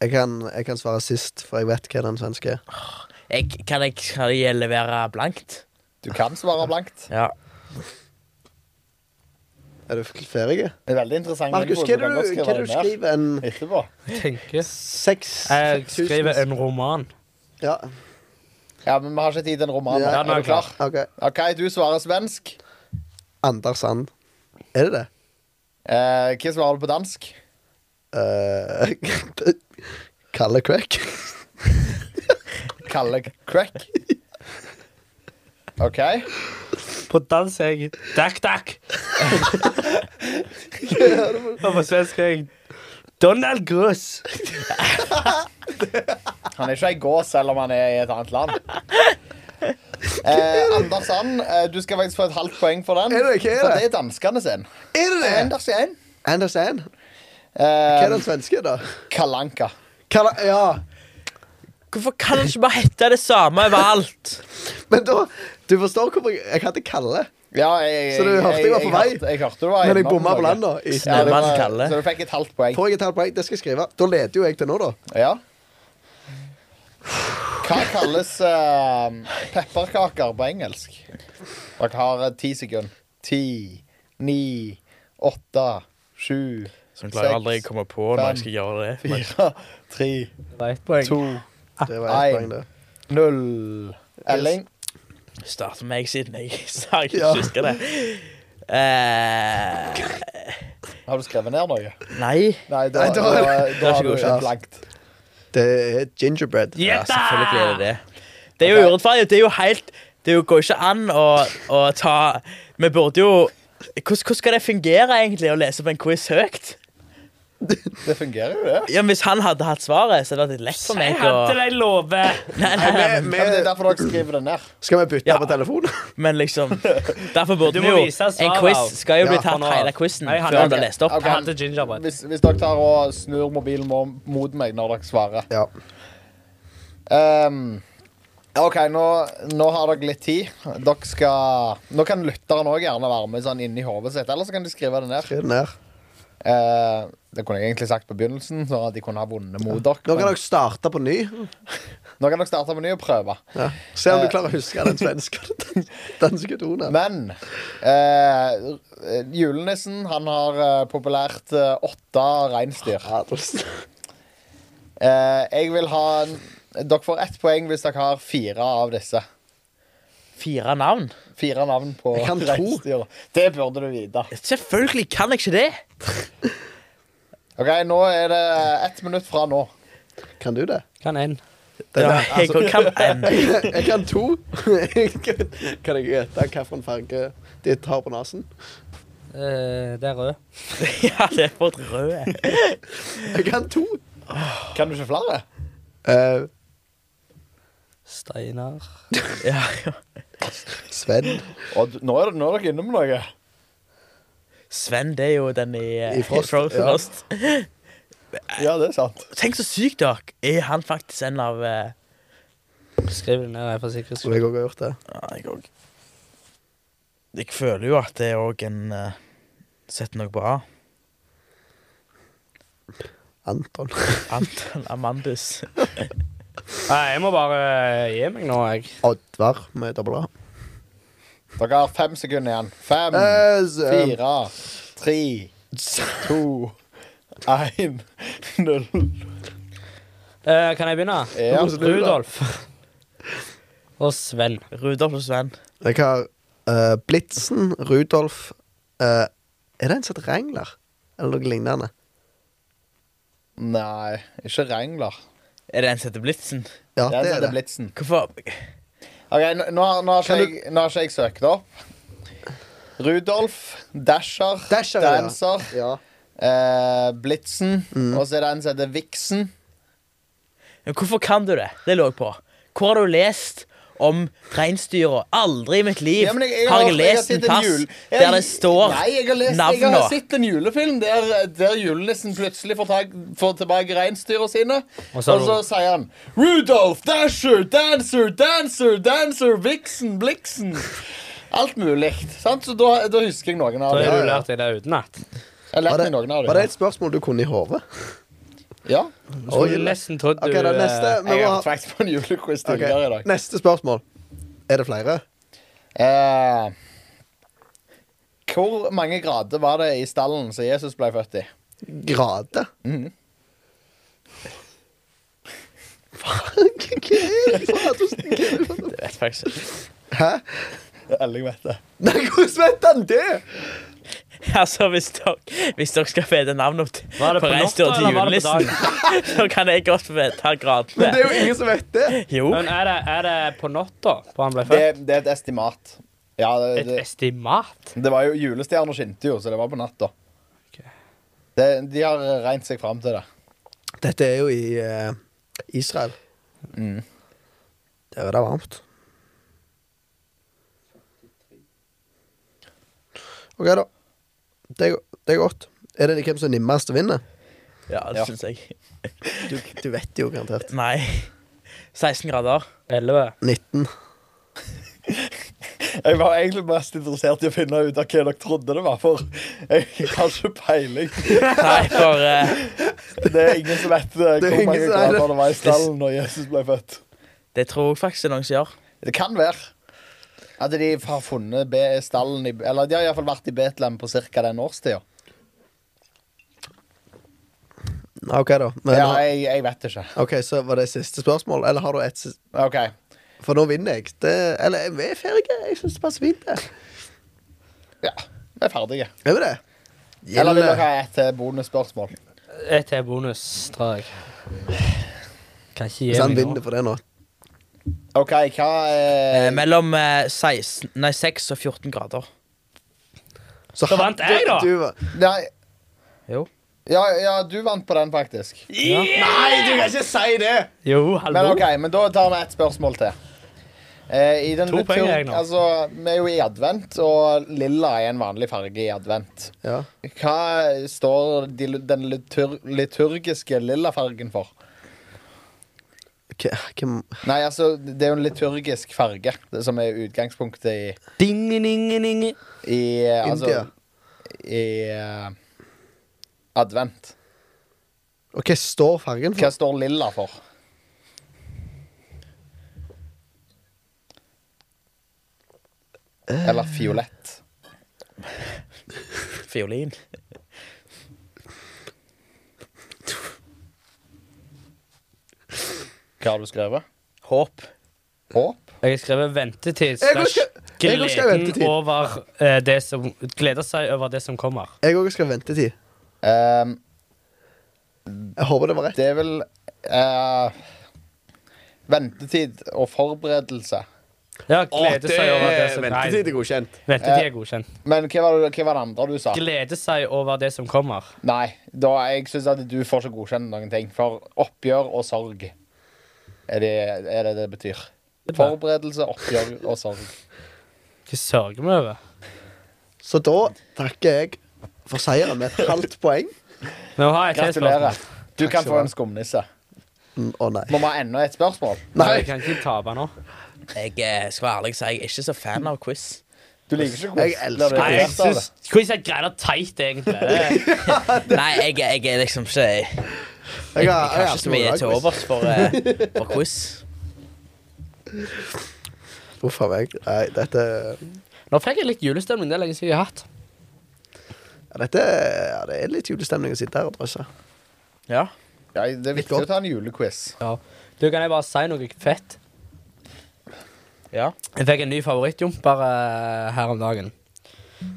S1: Jeg kan, jeg kan svare sist, for jeg vet hva den svenske er.
S4: jeg, Kan jeg, kan jeg levere blankt?
S2: Du kan svare blankt.
S4: Ja.
S1: Er du f- ferdig?
S2: Det er veldig interessant.
S1: Markus,
S2: info,
S1: hva er
S2: kan
S1: det du,
S2: godt skrive
S1: hva er det du
S2: det ned
S1: skriver? En
S2: Etterpå.
S3: Tenkes.
S1: seks
S3: Jeg
S1: seks tusen-
S3: skriver en roman.
S1: Ja,
S2: Ja, men vi har ikke tid til en roman.
S1: Ja,
S2: Ja,
S3: nå
S2: er du klar?
S1: OK.
S2: OK, du svarer svensk.
S1: Anders And. Er det det?
S2: Eh, hva svarer du på dansk?
S1: Eh, *laughs* Kalle Crack.
S2: Kalle crack. OK.
S3: På dansk er jeg Dak Dak. *laughs* Og på svensk er jeg Donald Gruss.
S2: Han er ikke ei gås selv om han er i et annet land. Eh, Anders Sand, eh, du skal faktisk få et halvt poeng for den.
S1: Er det? Hva er
S2: For
S1: det?
S2: det er danskene sin.
S1: Er det det?
S2: Anders igjen.
S1: Anders And. Hva er
S2: Eh,
S1: den svenske, da?
S2: Kalanka.
S1: Kalle, ja.
S4: Hvorfor kan det ikke bare hete det samme *laughs* overalt?
S1: Men da Du forstår hvorfor jeg, jeg hadde Kalle.
S2: Ja, jeg,
S1: Så du hørte jeg var på vei?
S2: hørte- Jeg hørte du var
S1: Men jeg
S2: innom
S1: bomma på
S2: noe.
S1: landa. i
S2: Ja, det
S4: Snømann
S2: var-
S4: Kalle.
S2: Så du fikk et halvt poeng.
S1: Får jeg et halvt poeng? Det skal jeg skrive. Da leder jo jeg til nå, da.
S2: Ja. Hva kalles eh, pepperkaker på engelsk? Dere har eh, ti sekunder. Ti, ni, åtte, sju,
S4: Sånn
S2: klarer jeg aldri å
S4: komme på
S2: når jeg skal
S4: gjøre
S2: fire, tre, to,
S3: Ah.
S1: Det var ett
S2: Nei.
S1: poeng, det.
S2: null. Elling.
S4: Start med meg siden jeg *laughs* sa jeg ikke
S1: Ja.
S4: husker det. Eh,
S2: Har du skrevet ned noe?
S4: nei.
S2: Nei, da,
S1: Nei, da-
S2: da, da,
S4: Da
S2: har
S4: skal
S2: du
S4: vi
S2: ikke
S4: gå.
S2: blankt.
S1: Det er gingerbread.
S4: Ja,
S3: Jetta!
S4: selvfølgelig er det det. Det er jo
S2: Ok.
S4: urettferdig. Det er jo helt Det er jo- går ikke an å, å ta Vi burde jo hvordan, hvordan skal det fungere, egentlig, å lese på en quiz høyt?
S2: Det fungerer jo, det.
S4: Ja, men Hvis han hadde hatt svaret, så hadde det vært litt lett for
S3: Jeg
S4: meg.
S3: hadde
S4: å...
S3: deg love!
S4: Nei,
S1: Nei,
S4: nei,
S1: vi-
S2: Ja, men det er
S1: vi-
S2: derfor dere skriver det ned.
S1: Skal vi bytte
S4: Ja.
S1: på *laughs* telefon?
S4: Men liksom Derfor burde
S3: Du
S4: vi
S3: må
S4: jo
S3: vise svaret,
S4: En
S3: Alf.
S4: quiz skal jo bli
S1: Ja.
S4: tatt
S3: Nå.
S4: hele quizen
S3: Nei, han-
S4: før den
S3: ok.
S4: blir lest opp.
S2: Ok.
S3: Jeg hadde gingerbread.
S2: Hvis, hvis dere tar og snur mobilen mo- mot meg når dere svarer.
S1: Ja.
S2: Ehm, OK, nå, nå har dere litt tid. Dere skal Nå kan lytteren òg gjerne være med sånn inni hodet sitt, eller så kan de skrive det ned.
S1: Skriv det ned.
S2: Eh, det kunne jeg egentlig sagt på begynnelsen, sånn at de kunne ha vunnet mot dere.
S1: Nå kan
S2: men
S1: dere starte på ny.
S2: Nå kan dere starte på ny og prøve.
S1: Ja. Se om du
S2: Eh.
S1: klarer å huske den svenske *laughs* den danske tonen.
S2: Men eh, julenissen, han har eh, populært eh, åtte reinsdyr.
S1: Adelsen.
S2: Eh, jeg vil ha en, Dere får ett poeng hvis dere har fire av disse.
S4: Fire navn?
S2: Fire navn på
S1: Jeg kan tro.
S2: reinsdyr. Det burde du vite.
S4: Selvfølgelig kan jeg ikke det!
S2: OK, nå er det ett minutt fra nå.
S1: Kan du det? *laughs*
S3: Kan en.
S1: Det
S4: Ja,
S1: der,
S4: jeg
S1: altså,
S4: kan en.
S1: jeg kan to. *laughs* Jeg kan kan jeg gjette hvilken farge de har på nesen?
S3: Eh, det er rød.
S4: *laughs* Ja, det er for røde.
S1: Jeg kan to.
S2: Kan du ikke flere?
S1: Eh,
S3: Steinar.
S4: Ja, ja.
S1: Sven
S2: Og d- nå er, det- nå er dere inne med noe.
S4: Sven, det er jo den i, eh,
S1: I Frost,
S4: Frost.
S1: ja.
S4: Frost.
S2: Ja, det er sant.
S4: Tenk så sykt, dere. Er han faktisk en av eh,
S3: Skriv det ned, jeg er for sikkerhets
S1: tror
S3: skyld.
S1: jeg òg har gjort det.
S4: Ja, jeg òg. Jeg føler jo at det er òg en eh, Sett noe bra.
S1: *laughs* Anton.
S4: Anton *laughs* Amandus.
S3: Nei, jeg må bare eh, gi meg nå, jeg.
S1: Oddvar med dobbel A.
S2: Dere har fem sekunder igjen. Fem,
S1: Eh, s- eh,
S2: fire, tre, to, én, *laughs* null.
S3: Eh, kan jeg begynne?
S2: Ja.
S3: *laughs* Rudolf. Og Sven.
S4: Rudolf og Sven.
S1: Jeg har eh, Blitzen, Rudolf eh, Er det en som heter Wrangler? Eller noe lignende?
S2: Nei, ikke Wrangler.
S4: Er det en som heter Blitzen?
S1: Ja,
S2: Den
S1: det er
S2: heter
S1: det.
S2: Blitzen.
S4: Hvorfor
S2: Ok, nå, nå, har- nå, har ikke
S1: Kan du-
S2: jeg, nå har ikke jeg søkt opp. Rudolf, Dasher,
S1: Dasher, ja.
S2: Dancer,
S1: Ja.
S2: eh, Blitzen,
S1: Mm.
S2: og så er det en som heter Vixen.
S4: Men Hvorfor kan du det? Det lå jeg på. Hvor har du lest om reinsdyra? Aldri i mitt liv
S2: Ja, men
S4: har jeg lest en
S2: sett
S4: plass
S2: jul-
S4: der det står
S2: Nei, jeg har, lest, jeg
S4: navnene.
S2: har sett en julefilm der, der julenissen plutselig får, tak, får tilbake reinsdyra sine.
S3: Og
S2: Og
S3: så
S2: så,
S3: har du-
S2: sier han Rudolf, Dasher, Dancer, Dancer, Dancer, Vixen, Blixen. Alt mulig. Sant? Så da, da husker jeg noen
S3: Da
S2: av
S3: har
S2: dem.
S3: du lært deg det utenat.
S2: Jeg
S1: Var
S2: lærte
S1: det,
S2: meg noen av
S1: var det
S2: dem.
S1: et spørsmål du kunne i hodet?
S2: Ja.
S3: Skulle nesten trodd du
S1: Ok, da
S3: eh,
S1: neste. Vi
S2: Jeg
S1: må
S2: har
S1: ha
S2: faktisk på en julequiz
S1: Ok,
S2: tidligere i dag.
S1: Neste spørsmål. Er det flere?
S2: Eh, hvor mange grader var det i stallen som Jesus ble født i?
S1: Grade?
S2: Mhm.
S1: Fuck, hva er det? Faen, hvordan-
S4: Jeg vet faktisk ikke. *laughs*
S1: Hæ?
S2: Alle vet det.
S1: Nei, hvordan vet han det?
S4: Altså, hvis dere, hvis dere skal vite navnet
S3: Var det
S4: på
S3: på
S4: reinsdyra
S3: natta,
S4: til
S3: eller var det på
S4: julenissen, *laughs* så kan jeg godt få vite
S1: Men det
S4: gradene.
S1: er jo ingen som vet det.
S4: Jo.
S3: Men er det, er det på natta på han ble
S2: Det,
S3: født?
S2: det er et estimat. Ja, det,
S3: Et
S2: det,
S3: estimat?
S2: det var jo julestjerner skinte jo, så det var på natta.
S3: Ok.
S2: Det, de har regnet seg fram til det.
S1: Dette er jo i eh, Israel.
S2: Mm.
S1: Der er det varmt. OK, da. Det er, go- det er godt. Er det hvem som nimmest vinner?
S4: Ja,
S2: Ja.
S4: det syns jeg.
S1: Du, du vet jo garantert.
S4: Nei. *laughs* 16 grader.
S3: 11.
S1: 19.
S2: Jeg var egentlig mest interessert i å finne ut av hva dere trodde det var for. Jeg har ikke peiling.
S4: Nei, for eh,
S2: Det er ingen som vet eh,
S1: Det er
S2: hvor
S1: ingen
S2: mange
S1: som vet det.
S2: grader det var i stallen når Jesus ble født.
S4: det tror jeg faktisk det er noen som gjør.
S2: Det kan være at de har funnet be- stallen i Eller de har iallfall vært i Betlehem på ca. den årstida.
S1: OK, da. Men, eh,
S2: Ja, jeg, jeg vet ikke.
S1: OK, så var det siste spørsmål, eller har du et siste
S2: OK.
S1: For nå vinner jeg. Det, eller vi er ferdige. Jeg syns det passer fint, det.
S2: Ja, vi er ferdige.
S1: Er vi det?
S2: Eller vil dere
S1: Gjelder-
S2: ha et eh, bonusspørsmål?
S3: Et til bonus, tror jeg. Kan ikke
S1: Hvis han
S3: gi
S1: vinner
S3: meg nå.
S1: for det nå.
S2: OK, hva
S4: Eh,
S2: er
S4: mellom eh, 16, nei, 6 og 14 grader.
S1: Så
S3: Da vant
S1: hadde
S3: jeg, da.
S1: du-
S2: Nei,
S4: Jo.
S2: Ja, ja, du vant på den, faktisk.
S1: Nei, du kan ikke si det!
S3: Jo,
S2: Men
S3: hallo.
S2: ok, men da tar vi ett spørsmål til. Eh, i den
S3: To
S2: litt
S3: poeng er
S2: tur-
S3: jeg nå.
S2: Altså, vi er jo i advent, og lilla er en vanlig farge i advent.
S1: Ja.
S2: Hva står de, den litur, liturgiske lilla fargen for?
S1: K- Hvem
S2: Nei, altså, det er jo en liturgisk farge det som er utgangspunktet i,
S3: Ding, ding, ding.
S2: i eh, altså,
S1: India.
S2: I eh, advent.
S1: Og hva står fargen
S2: Hva
S1: for?
S2: står lilla for? Eller fiolett.
S4: Fiolin.
S2: Hva har du skrevet?
S4: Håp.
S2: Håp?
S3: Jeg har skrevet ventetid
S1: Jeg har skre-
S3: slash
S1: jeg har skrevet ventetid.
S3: gleden over eh, det som Gleder seg over det som kommer.
S1: Jeg òg skal vente tid.
S2: Ehm,
S1: Jeg håper det var rett.
S2: det er vel eh, Ventetid og forberedelse.
S3: Ja, glede seg over det som
S1: ventetid er godkjent.
S3: Nei, ventetid er godkjent.
S2: Men hva var, det- hva var det andre du sa?
S3: Glede seg over det som kommer.
S2: Nei, da, jeg syns at du får ikke godkjenne noen ting. For oppgjør og sorg er det er det, det betyr. Forberedelse, oppgjør og sorg.
S3: Hva sørger vi over?
S1: Så da takker jeg for seieren med et halvt *laughs* poeng.
S3: Men vi har et helt spørsmål.
S2: Gratulerer. Du
S1: Takk
S2: kan
S1: skal
S2: få
S1: du ha.
S2: en skumnisse.
S1: Mm, Å nei.
S2: Må vi ha enda et spørsmål?
S3: Nei,
S1: Nei.
S3: jeg kan ikke tape nå.
S4: Jeg eh, skal være ærlig og si jeg er ikke så fan av quiz.
S2: Du liker ikke
S1: Jeg elsker
S3: Nei, jeg
S2: quiz.
S3: syns quiz er greit og teit, egentlig. Det-
S4: Eh, Nei, jeg, jeg er liksom ikke Jeg, jeg,
S1: Jeg har,
S4: har ikke så mye til overs for, eh, for quiz.
S1: Huff a meg. Nei, dette
S3: *laughs* Nå fikk jeg litt julestemning. Det er lenge siden jeg har hatt.
S1: ja, Dette ja, Det er litt julestemning å sitte her og drøsse.
S4: Ja.
S2: Ja, det er viktig å ta en julequiz.
S3: Ja. Du, kan jeg bare si noe fett?
S4: ja.
S3: Jeg fikk en ny favorittjumper eh, her om dagen.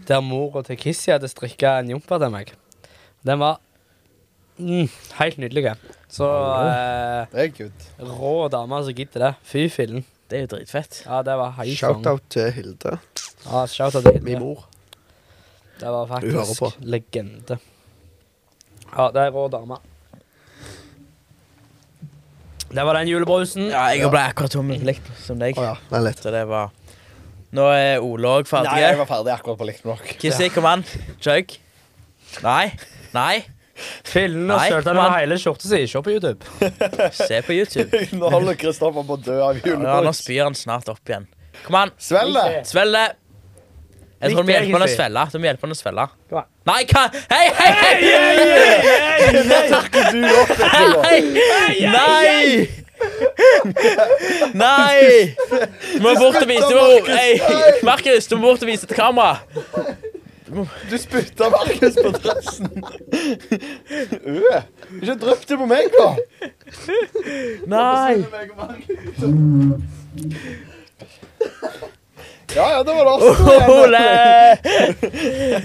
S3: Der mora til Kissy hadde strikka en jumper til meg. Den var mm, helt nydelig. Så eh,
S2: Det er good.
S3: rå dame som gidder det. Fy fillen.
S4: Det er jo dritfett.
S3: Ja, det var helt konge.
S1: Shout-out til Hilde,
S3: Ja, shout out til
S1: min
S3: Hilde.
S1: mor.
S3: Det var
S1: hører på.
S3: faktisk legende. Ja, det er rå dame. Det var den julebrusen.
S4: Ja, jeg ble akkurat tom likt som deg.
S1: Å ja. Nei, litt.
S4: Så det var Nå er Ole òg
S2: Nei, jeg
S4: ferdig.
S2: var ferdig akkurat på likt nok. *laughs*
S4: Kissi, kom an. Chug. Nei. Nei.
S3: Fillen og
S4: Nei,
S3: sølte
S4: men-
S3: med hele skjorta si. Se på YouTube.
S4: Se på YouTube.
S2: Nå holder Kristoffer på å dø av
S4: Ja, nå
S2: julequiz.
S4: spyr han snart opp igjen. Kom an.
S2: Svelle!
S4: Svelg det. Jeg tror du må
S3: Litt
S4: hjelpe han å
S3: egentlig.
S4: svelge. Du må hjelpe han å svelge.
S3: Kom an.
S4: Nei, hva? Hei, hei, hei!
S2: Nå tørker du opp etterpå.
S4: Nei! Nei! Du må bort og vise
S2: Markus.
S4: Hei, Markus, du må bort og vise til kamera.
S2: Du spytta Markus på dressen. *laughs* Øh, ikke drypp det på meg, da.
S4: Nei.
S2: Ja, ja, det var
S3: *laughs*
S2: det oss. to igjen.
S4: Ole!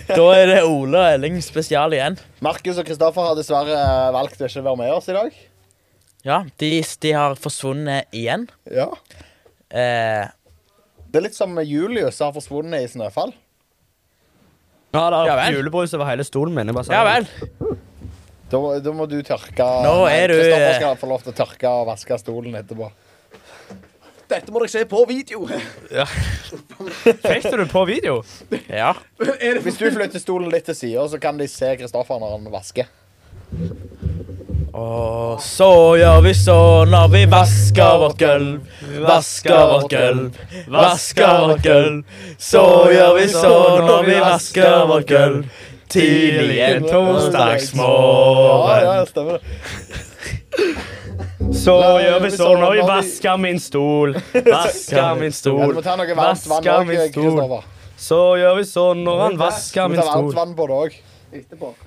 S4: Da er det Ole og Elling spesial igjen.
S2: Markus og Kristoffer har dessverre valgt å ikke være med oss i dag.
S4: Ja, de, de har forsvunnet igjen.
S2: Ja.
S4: Eh,
S2: Det er litt som Julius har forsvunnet i snøfall.
S3: Ja, det
S4: Ja
S3: er
S4: vel.
S3: julebrus over hele stolen min. jeg bare sa
S4: ja
S3: det.
S4: vel.
S2: Da, da må du tørke
S4: Nå er du-
S2: Kristoffer skal få lov til å tørke og vaske stolen etterpå.
S1: Dette må dere se på video.
S3: Fikk du det på video?
S4: Ja.
S2: Hvis du flytter stolen litt til sida, så kan de se Kristoffer når han vasker.
S4: Og så gjør vi så når vi vasker vårt gulv, vasker vårt gulv, vasker vårt gulv. Så gjør vi så når vi vasker vårt gulv, *laughs* tidlig en
S2: Ja,
S4: torsdagsmorgen.
S2: ja, stemmer det.
S3: Så gjør vi
S2: sånn
S3: så når vi vasker min stol. Vasker min
S2: Ja, du
S3: stol.
S2: må ta noe varmt vann
S3: Vasker
S2: òg,
S3: min stol.
S2: Kristoffer.
S3: Så gjør vi så når han vasker
S2: Du
S3: min
S2: må ta varmt
S3: stol.
S2: vann på det òg.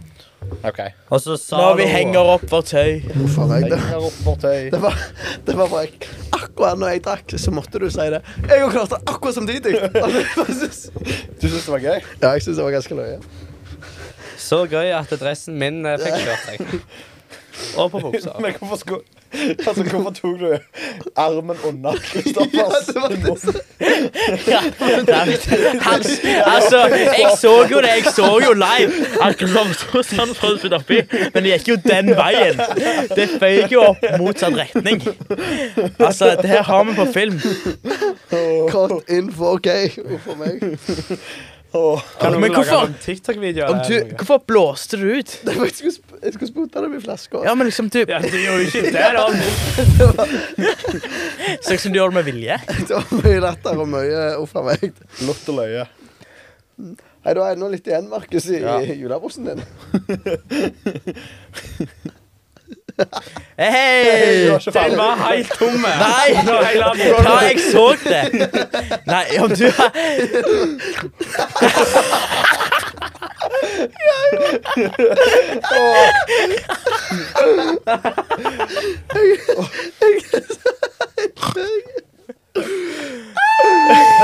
S2: OK.
S3: Og så sa
S4: Når vi
S3: hun-
S4: henger opp vårt tøy.
S1: Huff a meg.
S2: Jeg
S1: Det,
S2: henger opp vårt tøy.
S1: det var, det var bare Akkurat når jeg drakk, så måtte du si det. Jeg òg klarte det akkurat samtidig. *laughs*
S2: Du syns det var gøy?
S1: Ja, jeg syns det var ganske løye. *laughs*
S3: Så gøy at dressen min eh, fikk kjørt seg.
S4: og på buksa.
S2: Men hvorfor skulle Altså, hvorfor tok du armen unna Kristoffers
S4: Ja, nei, han, altså, jeg så jo det. Jeg så jo live at Kristian sto sånn for å spytte oppi, men det gikk jo den veien. Det føyk jo opp motsatt retning. Altså, det her har vi på film.
S1: Cut in 4K for meg.
S2: Åh,
S3: Kan
S4: men
S3: noen lage
S4: hvorfor-
S3: en TikTok-video?
S4: Om
S3: eller
S4: du,
S3: noe?
S4: hvorfor blåste du ut?
S1: Det var- Jeg skulle, sp- jeg skulle spurt deg om i flaska.
S4: Ja, men liksom du
S3: Ja, du gjorde jo ikke det,
S4: *laughs*
S3: da.
S4: Ser ut Sånn som du gjør det med vilje.
S1: *laughs* Det var mye lettere og mye uff a meg.
S2: Lott og løye.
S1: Nei, du har ennå litt igjen, Markus, i
S2: Ja.
S1: i juleboksen din.
S4: Hei!
S2: Det var ikke
S3: Den
S2: farlig.
S3: var helt tomme.
S4: Nei!
S3: Når jeg la den
S4: Ja, jeg så det. Nei, om du har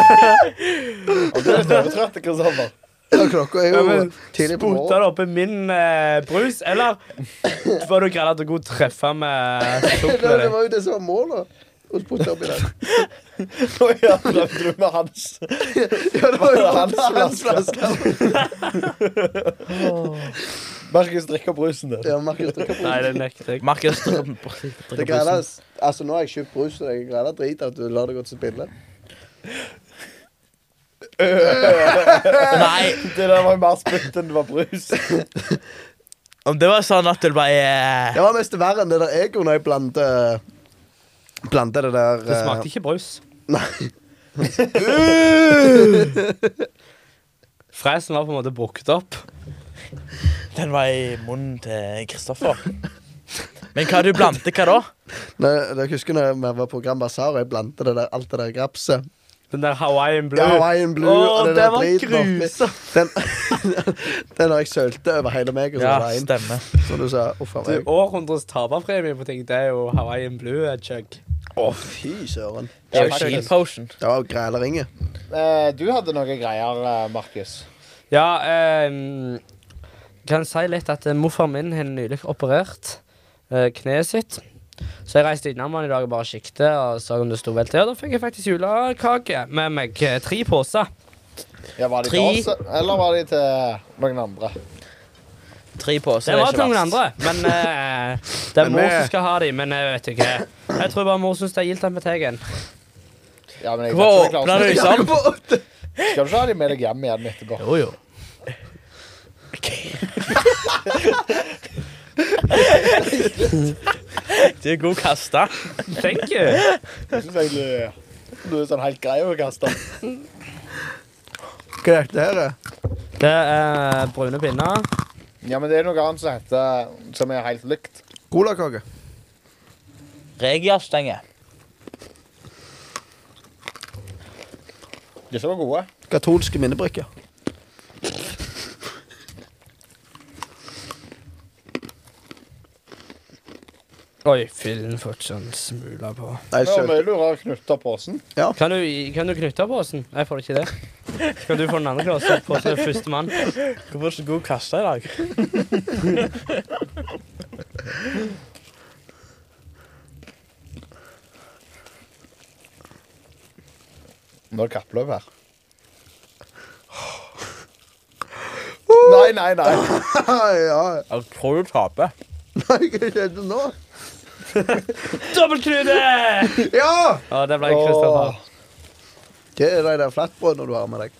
S2: Og du er litt overtrøtt, Kristoffer.
S1: Ja, klokka er
S3: Ja,
S1: jo
S3: men
S1: tidlig på
S3: Spota
S1: morgenen.
S3: det oppi min eh, brus, eller var du grei til å gå og treffe med
S1: *laughs* Det
S3: sukkeret
S1: det
S3: ditt?
S1: var jo det som var målet. Å spotte oppi
S3: *laughs*
S1: den.
S2: Nå ja, prøvde du med hans.
S1: Ja, det var jo
S2: Hans
S1: hans flaske.
S2: Markus drikker opp rusen din.
S1: Ja, Markus drikker
S3: Nei,
S1: brus.
S3: det nekter jeg.
S4: Markus
S1: Det er
S4: drikker
S1: greit,
S4: brusen.
S1: ass. Altså, nå har jeg kjøpt brus, og det er greit at drit at du lar det gå til spille.
S4: Nei,
S2: Det der var jo mer spytt enn det var brus.
S4: om det var sånn at du bare eh,
S1: Det var mest verre enn det der jeg gjorde når jeg blandet Blandet det der
S3: Det
S1: eh,
S3: smakte ikke brus.
S1: *laughs* Nei.
S3: Fresen var på en måte brukt opp.
S4: Den var i munnen til Kristoffer. Men hva du blandte, hva da?
S1: Nei, jeg husker når vi var på Grand Bazaar, og jeg blandet det der, alt det der grapset.
S3: Den der Hawaiian blue.
S1: Ja, Hawaiian Blue
S3: Åh,
S1: og det,
S3: det
S1: der
S3: var
S1: driten oppi. Den, *laughs* den har jeg sølte over hele meg, og så
S4: Ja,
S1: var det en
S4: stemmer.
S1: som du sa. Uff a
S3: Du,
S1: meg.
S3: århundrets taperpremie på ting, det er jo Hawaiian blue eh, chug.
S1: Å, fy søren.
S4: Det
S2: Ja,
S4: er jo
S2: faktisk.
S4: Shield Potion.
S1: Det var græleringe.
S2: Eh, Du hadde noen greier, eh, Markus.
S3: Ja, ehm, kan si litt at eh, morfar min har nylig operert eh, kneet sitt. Så jeg reiste innom han i dag og bare kikket og så om det sto vel til. Og da fikk jeg faktisk julekake med meg. eh, Tre poser.
S2: Ja, var de
S4: Tre.
S2: til oss, eller var de til noen andre?
S4: Tre poser
S3: Det
S4: er
S3: var til
S4: ikke
S3: noen
S4: verst.
S3: andre, men eh, det er
S1: Men
S3: mor
S1: vi-
S3: som skal ha de, Men jeg vet ikke. Jeg tror bare mor syns det er gildt med tegen.
S2: Ja, men jeg vet
S4: Hvorfor
S2: ikke om jeg klarer
S4: åpner du
S2: å
S4: ikke sånn?
S2: Skal du ikke ha de med deg hjem igjen etterpå?
S4: Jo, jo. Du er god kasta.
S3: Thank you.
S2: Jeg synes egentlig du er sånn helt grei å kaste.
S1: Hva er dette her?
S3: Det er eh, brune pinner.
S2: Ja, men det er noe annet som heter Som er helt likt.
S1: Colakake.
S4: Regiastenge.
S2: Disse var gode.
S1: Katolske minnebrikker.
S3: Oi, fyllen fått sånn smuler på.
S1: Nei,
S2: Det var
S1: sølte.
S2: mye lurere å knytte opp posen.
S3: Kan du, kan du knytte av posen? Jeg får ikke det. Skal du få den andre posen? Posen er førstemann.
S4: Hvorfor er du så god kasta i dag?
S2: Nå er det kappløp her. Nei, nei, nei.
S1: *laughs* ja.
S4: Jeg tror du taper.
S1: Nei, hva skjedde nå?
S3: Dobbeltknute!
S1: Ja!
S3: Å, det ble Kristoffer.
S1: Hva er de der flatbrødene du har med deg?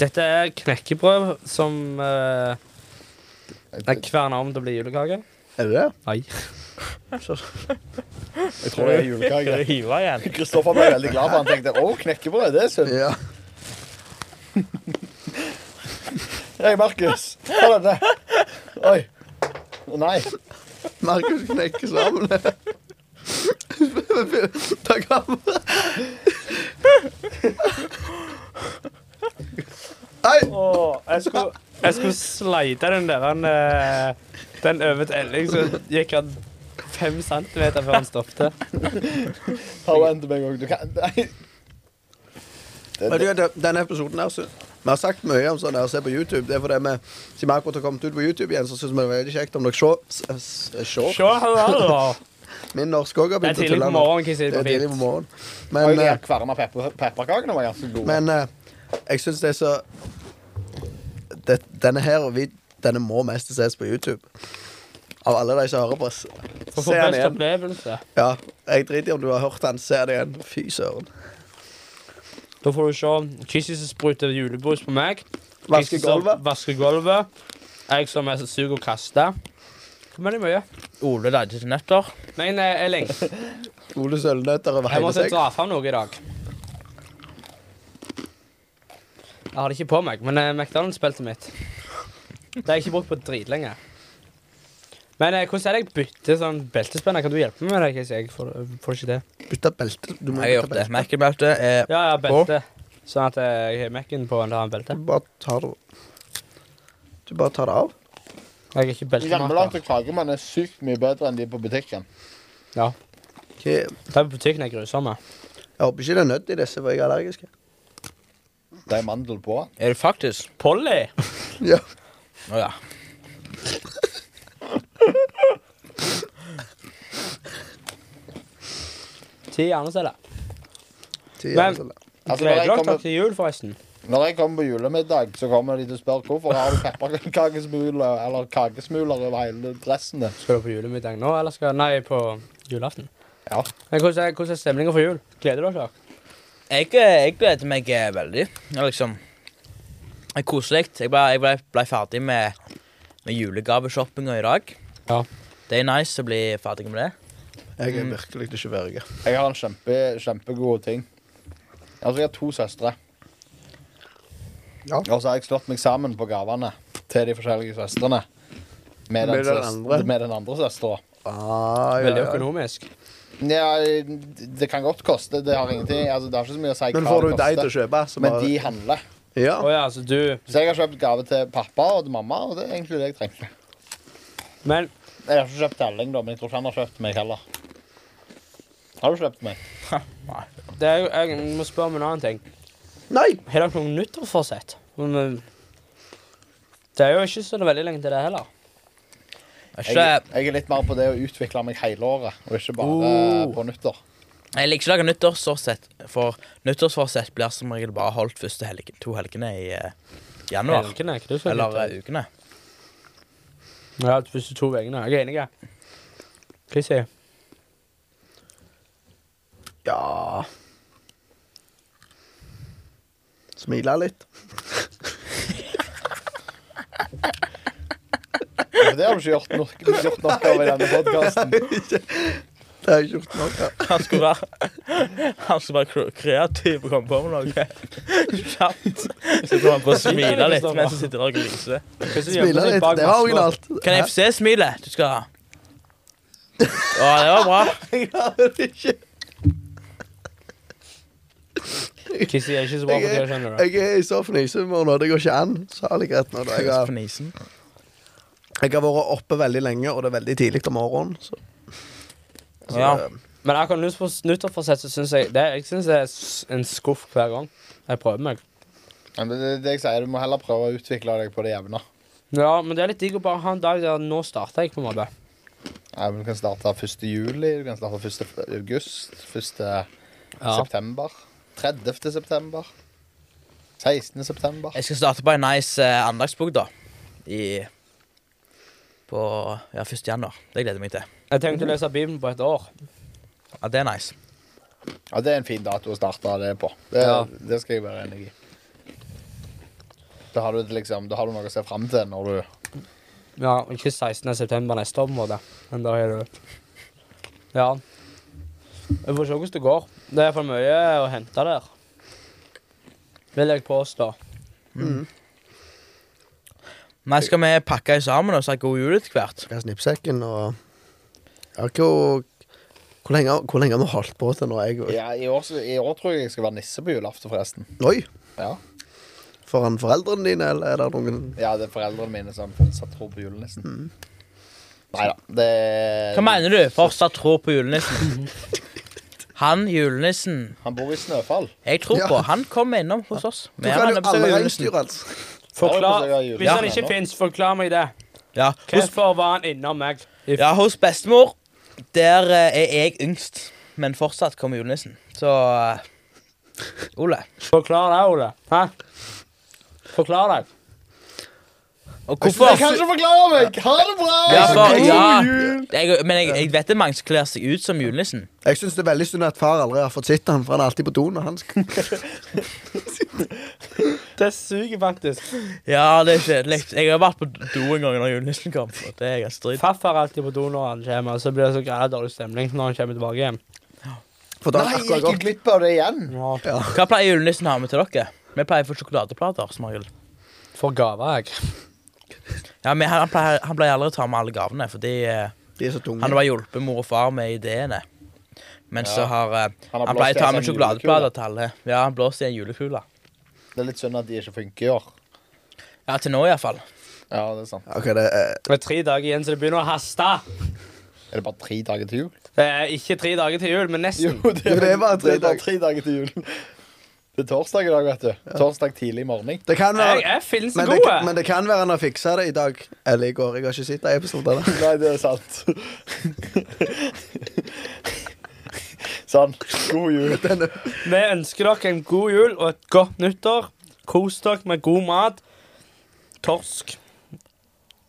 S3: Dette er knekkebrød som eh, er
S2: Jeg,
S3: kverna om til å bli julekake.
S1: Er det det?
S3: Nei.
S2: jeg tror det er
S4: Skal du
S2: julekake.
S4: hive igjen?
S2: Kristoffer ble veldig glad, for han tenkte 'Å, knekkebrød, det er sunt'.
S1: Ja.
S2: Hei, Markus. Ta denne. Oi. Å, Nei.
S1: Markus knekker sammen. Ta kamera. Nei,
S3: jeg skulle, jeg skulle slide den der han, eh, Den over til Elling, så gikk han fem centimeter før han stoppet.
S2: Ta den til meg òg. Du kan Nei.
S1: Men du, den- Denne episoden her så Vi har sagt mye om sånn der å se på YouTube. Det er fordi vi, siden vi akkurat har kommet ut på YouTube igjen, så syns vi det er veldig kjekt om dere sjå- s- s- sjå.
S3: Se her, da.
S1: Min norske òg har
S3: Det
S1: begynt
S3: er
S1: å
S3: tidlig
S1: tulle
S3: på
S1: nå.
S3: morgenen.
S1: Det
S3: Hva sier
S1: er tidlig
S3: du
S1: på
S3: på fint?
S1: morgenen.
S2: Og
S1: Men,
S2: de
S1: eh,
S2: her kverna pepper, pepperkakene var ganske gode.
S1: men eh, jeg syns det er så det, Denne her og vi, denne må mest ses på YouTube. Av alle de som hører på oss.
S3: For å
S1: Se
S3: få
S1: den
S3: best
S1: igjen.
S3: opplevelse.
S1: Ja, jeg driter i om du har hørt den. Se den igjen. Fy søren.
S3: Da får du se Kissy som spruter julebrus på meg.
S1: Vaske
S3: Jeg som
S1: gulvet.
S3: Vasker gulvet. Jeg som er så sug å kaste. Hvor veldig mye?
S4: Ole lagde til nøtter.
S3: Men eh,
S1: *laughs*
S3: Elling, jeg
S1: Ole Sølvnøtter over hele
S3: måtte
S1: seg.
S3: dra fram noe i dag. Jeg har det ikke på meg, men eh, McDonald's-beltet mitt Det har jeg ikke brukt på dritlenge. Men eh, hvordan er det jeg bytter sånn beltespenner? Kan du hjelpe meg med det? Casey? Jeg får, eh, får ikke det.
S1: Bytte belte. Du må
S4: Jeg har
S1: bytte
S4: gjort det.
S1: belte.
S4: Mac-belte er
S3: Ja, ja, belte. Sånn at eh, jeg har Mac-en på en annen belte.
S1: Du bare tar det Du bare tar det av.
S3: Jeg har ikke beltemaker.
S2: Hjemmelagde kakemann er sykt mye bedre enn de på butikken.
S3: Ja.
S1: Ok,
S3: De på butikken er grusomme.
S1: Jeg håper ikke det er nødt i disse, for jeg er allergisk.
S2: Det er mandel på.
S4: Er det faktisk?
S3: Polly!
S1: Ja.
S4: Å ja.
S3: Ti hjerneceller.
S1: *laughs* Ti sånn.
S3: Men-
S1: jævla-
S2: Altså, når
S3: Gleder
S2: jeg
S3: dere
S2: kommer-
S3: til jul, forresten?
S2: Når jeg kommer på julemiddag, så kommer de til å spørre hvorfor har du pepperkakesmuler eller kakesmuler over hele dressen din.
S3: Skal du på julemiddag nå, eller skal Nei, på julaften.
S2: Ja.
S3: Men hvordan er, hvordan er stemningen for jul? Gleder dere dere?
S4: Jeg, jeg gleder meg eh, veldig. Det er liksom det er koselig. Jeg ble, jeg ble, ble ferdig med, med julegaveshoppinga i dag.
S3: Ja.
S4: Det er nice å bli ferdig med det.
S1: Jeg er virkelig ikke verge.
S2: Jeg har en kjempe, kjempegod ting. Altså, jeg har to søstre.
S1: Ja.
S2: Og så har jeg slått meg sammen på gavene til de forskjellige søstrene. Med den,
S1: Med den
S2: søs-
S1: andre?
S2: med den andre søstera.
S1: Ah, ja,
S3: Veldig
S1: ja.
S3: økonomisk.
S2: Ja, det kan godt koste. Det har ingenting Altså, det har ikke så mye å si
S1: Men
S2: hva
S1: får du
S2: det
S1: deg til å
S2: koster.
S1: kjøpe, så
S2: Men
S1: bare
S2: de handler.
S1: Ja.
S3: Å ja, altså du
S2: Så jeg har kjøpt gave til pappa og til mamma, og det er egentlig det jeg trengte.
S3: Men
S2: Jeg har ikke kjøpt til Elling, da, men jeg tror ikke han har kjøpt til meg heller. Har du kjøpt til meg?
S3: det er, jo- jeg må spørre om en annen ting.
S1: Nei!
S3: Har dere noen nyttårsforsett? Men, Det er jo ikke så veldig lenge til det heller.
S4: Det er
S2: Jeg,
S4: Ikke,
S2: jeg er litt mer på det å utvikle meg hele året, og ikke bare
S1: Oh.
S2: på nyttår.
S4: jeg liker ikke å lage nyttårsforsett, for nyttårsforsett blir som regel bare holdt første helgen, to helgene i eh, januar.
S3: Helgene, ikke du skal
S4: Eller
S3: nyttår.
S4: eh, ukene.
S3: Ja, de første to ukene. Jeg er enig. jeg. Hva sier jeg?
S1: Ja Smile litt. *laughs*
S2: For det har du ikke gjort nok, gjort nok av i denne podkasten.
S1: Det har jeg ikke gjort nok av.
S4: Han skulle være, han skulle være *laughs* kre- kreativ og komme på med noe kjapt. Så kommer han på å smile litt mens han sitter der og gliser.
S1: Smile litt. Det var originalt. *laughs*
S4: Kan jeg få se smilet du skal ha? Å, det var bra.
S1: Jeg klarer det ikke.
S3: Kissi er ikke så bra på det, skjønner du.
S1: Jeg er i så fnisehumør nå. Det går ikke an. Særlig greit nå. da. Jeg har,
S4: Fnisen.
S1: jeg har vært oppe veldig lenge, og det er veldig tidlig om morgenen. Så. Så,
S4: Ja.
S1: eh,
S3: Men akkurat nyttårs- nyttårsforsett, så syns jeg det, jeg synes det er s- en skuff hver gang jeg prøver meg.
S2: Ja, men Det, det jeg sier, Du må heller prøve å utvikle deg på det jevne.
S3: Ja, men det er litt digg å bare ha en dag der nå starter jeg, på en måte.
S2: Ja, men Du kan starte 1. juli, du kan starte 1. august, 1. september, 30. september, 16. september.
S4: Jeg skal starte på en nice eh, andagsbok, da. I På ja, 1. januar. Det gleder jeg meg til.
S3: Jeg tenkte å lese Bibelen på et år.
S4: Ja, det er nice.
S2: Ja, Det er en fin dato å starte det på. Det,
S3: Ja.
S2: det skal jeg være enig i. Da har, du liksom, da har du noe å se fram til når du
S3: Ja, Ikke 16. september neste år, på en måte. Men da er det Ja. Vi får se hvordan det går. Det er for mye å hente der. Vil jeg påstå.
S4: Nei, skal vi pakke sammen og si god jul etter hvert?
S1: Jeg har snippsekken og Jeg har ikke jo- hvor lenge, hvor lenge har vi holdt på til nå? Jeg,
S2: ja, i, år, så- I år tror jeg jeg skal være nisse på julaften, forresten.
S1: Oi!
S2: Ja,
S1: Foran foreldrene dine, eller er det noen
S2: ja det er foreldrene mine som fortsatt tror på julenissen. Nei da,
S1: *laughs*
S2: det
S4: Hva mener du? Fortsatt tro på julenissen? Han julenissen
S2: Han bor i Snøfall.
S4: Jeg tror
S1: Ja.
S4: på han kommer innom hos oss. Vi
S1: Du
S4: har
S1: kan
S4: han
S1: jo
S4: på besøk
S1: alle
S4: av julenissen.
S1: reinsdyr, altså.
S3: Forklar,
S2: Ja, det er på seg av
S3: hvis han
S2: julen
S3: ikke
S2: ennå.
S3: fins, forklar meg det.
S4: Ja, hos,
S3: Hvorfor var han innom meg? I
S4: ja, hos bestemor. Der eh, er jeg yngst, men fortsatt kommer julenissen. Så eh, Ole.
S3: Forklar det, Ole. Hæ? Forklar deg.
S4: Og
S2: Jeg
S4: hvorfor
S2: kan ikke forklare meg! Ha det bra!
S4: Ja, for,
S2: God
S4: ja.
S2: jul!
S4: Jeg, men jeg, jeg vet det er mange som kler seg ut som julenissen.
S1: Jeg syns det er veldig synd at far aldri har fått sett han, for han er alltid på do når han skal
S3: Det suger faktisk.
S4: Ja, det er kjedelig. Jeg har vært på do en gang når julenissen kom. og Det er ganske dritt.
S3: Farfar er alltid på do når han kommer, og så blir det så græ dårlig stemning når han kommer tilbake hjem.
S1: For da
S2: Nei,
S1: har han
S2: jeg
S1: akkurat
S2: gikk
S1: gått.
S2: glipp av det igjen.
S3: Ja.
S4: Hva pleier julenissen å ha med til dere? Vi pleier å få sjokoladeplater. som regel.
S3: For gaver, jeg.
S4: Ja, men han, pleier, han pleier aldri å ta med alle gavene, fordi eh,
S1: De er så tunge.
S4: han har bare hjulpet mor og far med ideene. Men så har eh,
S2: Han har
S4: han,
S2: blåst i
S4: pleier å ta
S2: en
S4: med
S2: sånn
S4: sjokoladeplater til alle. Ja, han blåser i en julekule.
S2: Det er litt synd at de ikke funker i år.
S4: Ja, til nå iallfall.
S2: Ja, det Er sant
S1: Ok, det er
S3: Det er tre dager igjen, så det begynner å haste.
S2: Er det bare tre dager til jul?
S3: Det er ikke tre dager til jul, men nesten.
S1: Jo, det er bare tre
S2: det er
S1: dager.
S2: bare tre dager til jul. Det er torsdag i dag, vet du. Torsdag tidlig morgen.
S1: Det kan
S3: *laughs* Jeg
S1: være
S3: er fillen så
S1: men det,
S3: god.
S1: men det kan være han har fiksa det i dag. Eller i går. Jeg har ikke sett det episoden. av det.
S2: Nei, det er *laughs* sant. sånn. God jul.
S3: Vi ønsker dere en god jul og et godt nyttår. Kos dere med god mat. Torsk.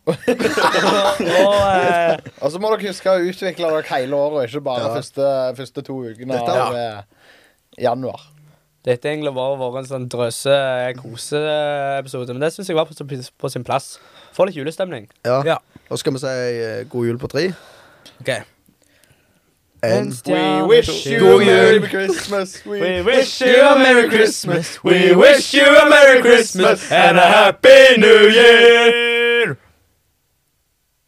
S3: *laughs* og eh,
S2: Og så må dere huske å utvikle dere hele året, ikke bare
S1: Ja.
S2: første, første to ukene
S1: Dette-
S2: av eh, januar.
S3: Dette har egentlig bare vært en sånn drøse koseepisode, men det syns jeg var på, på sin plass. Få litt julestemning.
S1: Ja.
S4: Ja.
S1: Og skal vi si eh, god jul på tre?
S4: Ok.
S1: En
S2: We wish you
S4: God
S2: a
S4: jul.
S2: merry Christmas. We,
S3: We wish you a merry Christmas. We wish you a merry Christmas and a happy new year.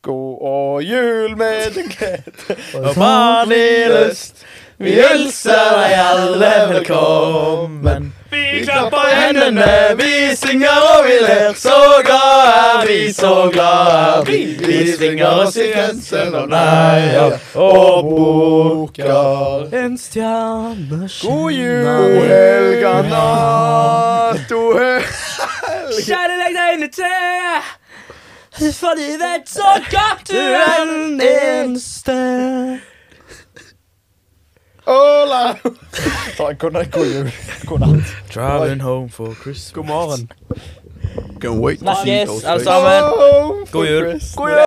S2: God og jul med glede. *laughs*
S4: Og barn i lyst, vi hilser deg alle velkommen.
S3: Vi klapper hendene,
S4: vi synger og vi ler. Så glad er vi, så glad er vi. Vi svinger oss i grensen og neier
S3: Oh,
S4: og bukker. En stjerne
S2: God
S1: God
S2: jul.
S1: helga natt, o hel-
S3: Kjære legg deg inn i te, for de vet så godt du er den eneste.
S2: Hola. Sånn, god natt, god jul. God natt.
S4: Driving home for Christmas.
S3: God morgen.
S1: Can't wait to see
S4: Snakkes,
S1: those
S4: alle
S1: faces.
S4: sammen.
S2: Home for
S4: God jul.
S2: Christmas.
S3: God jul.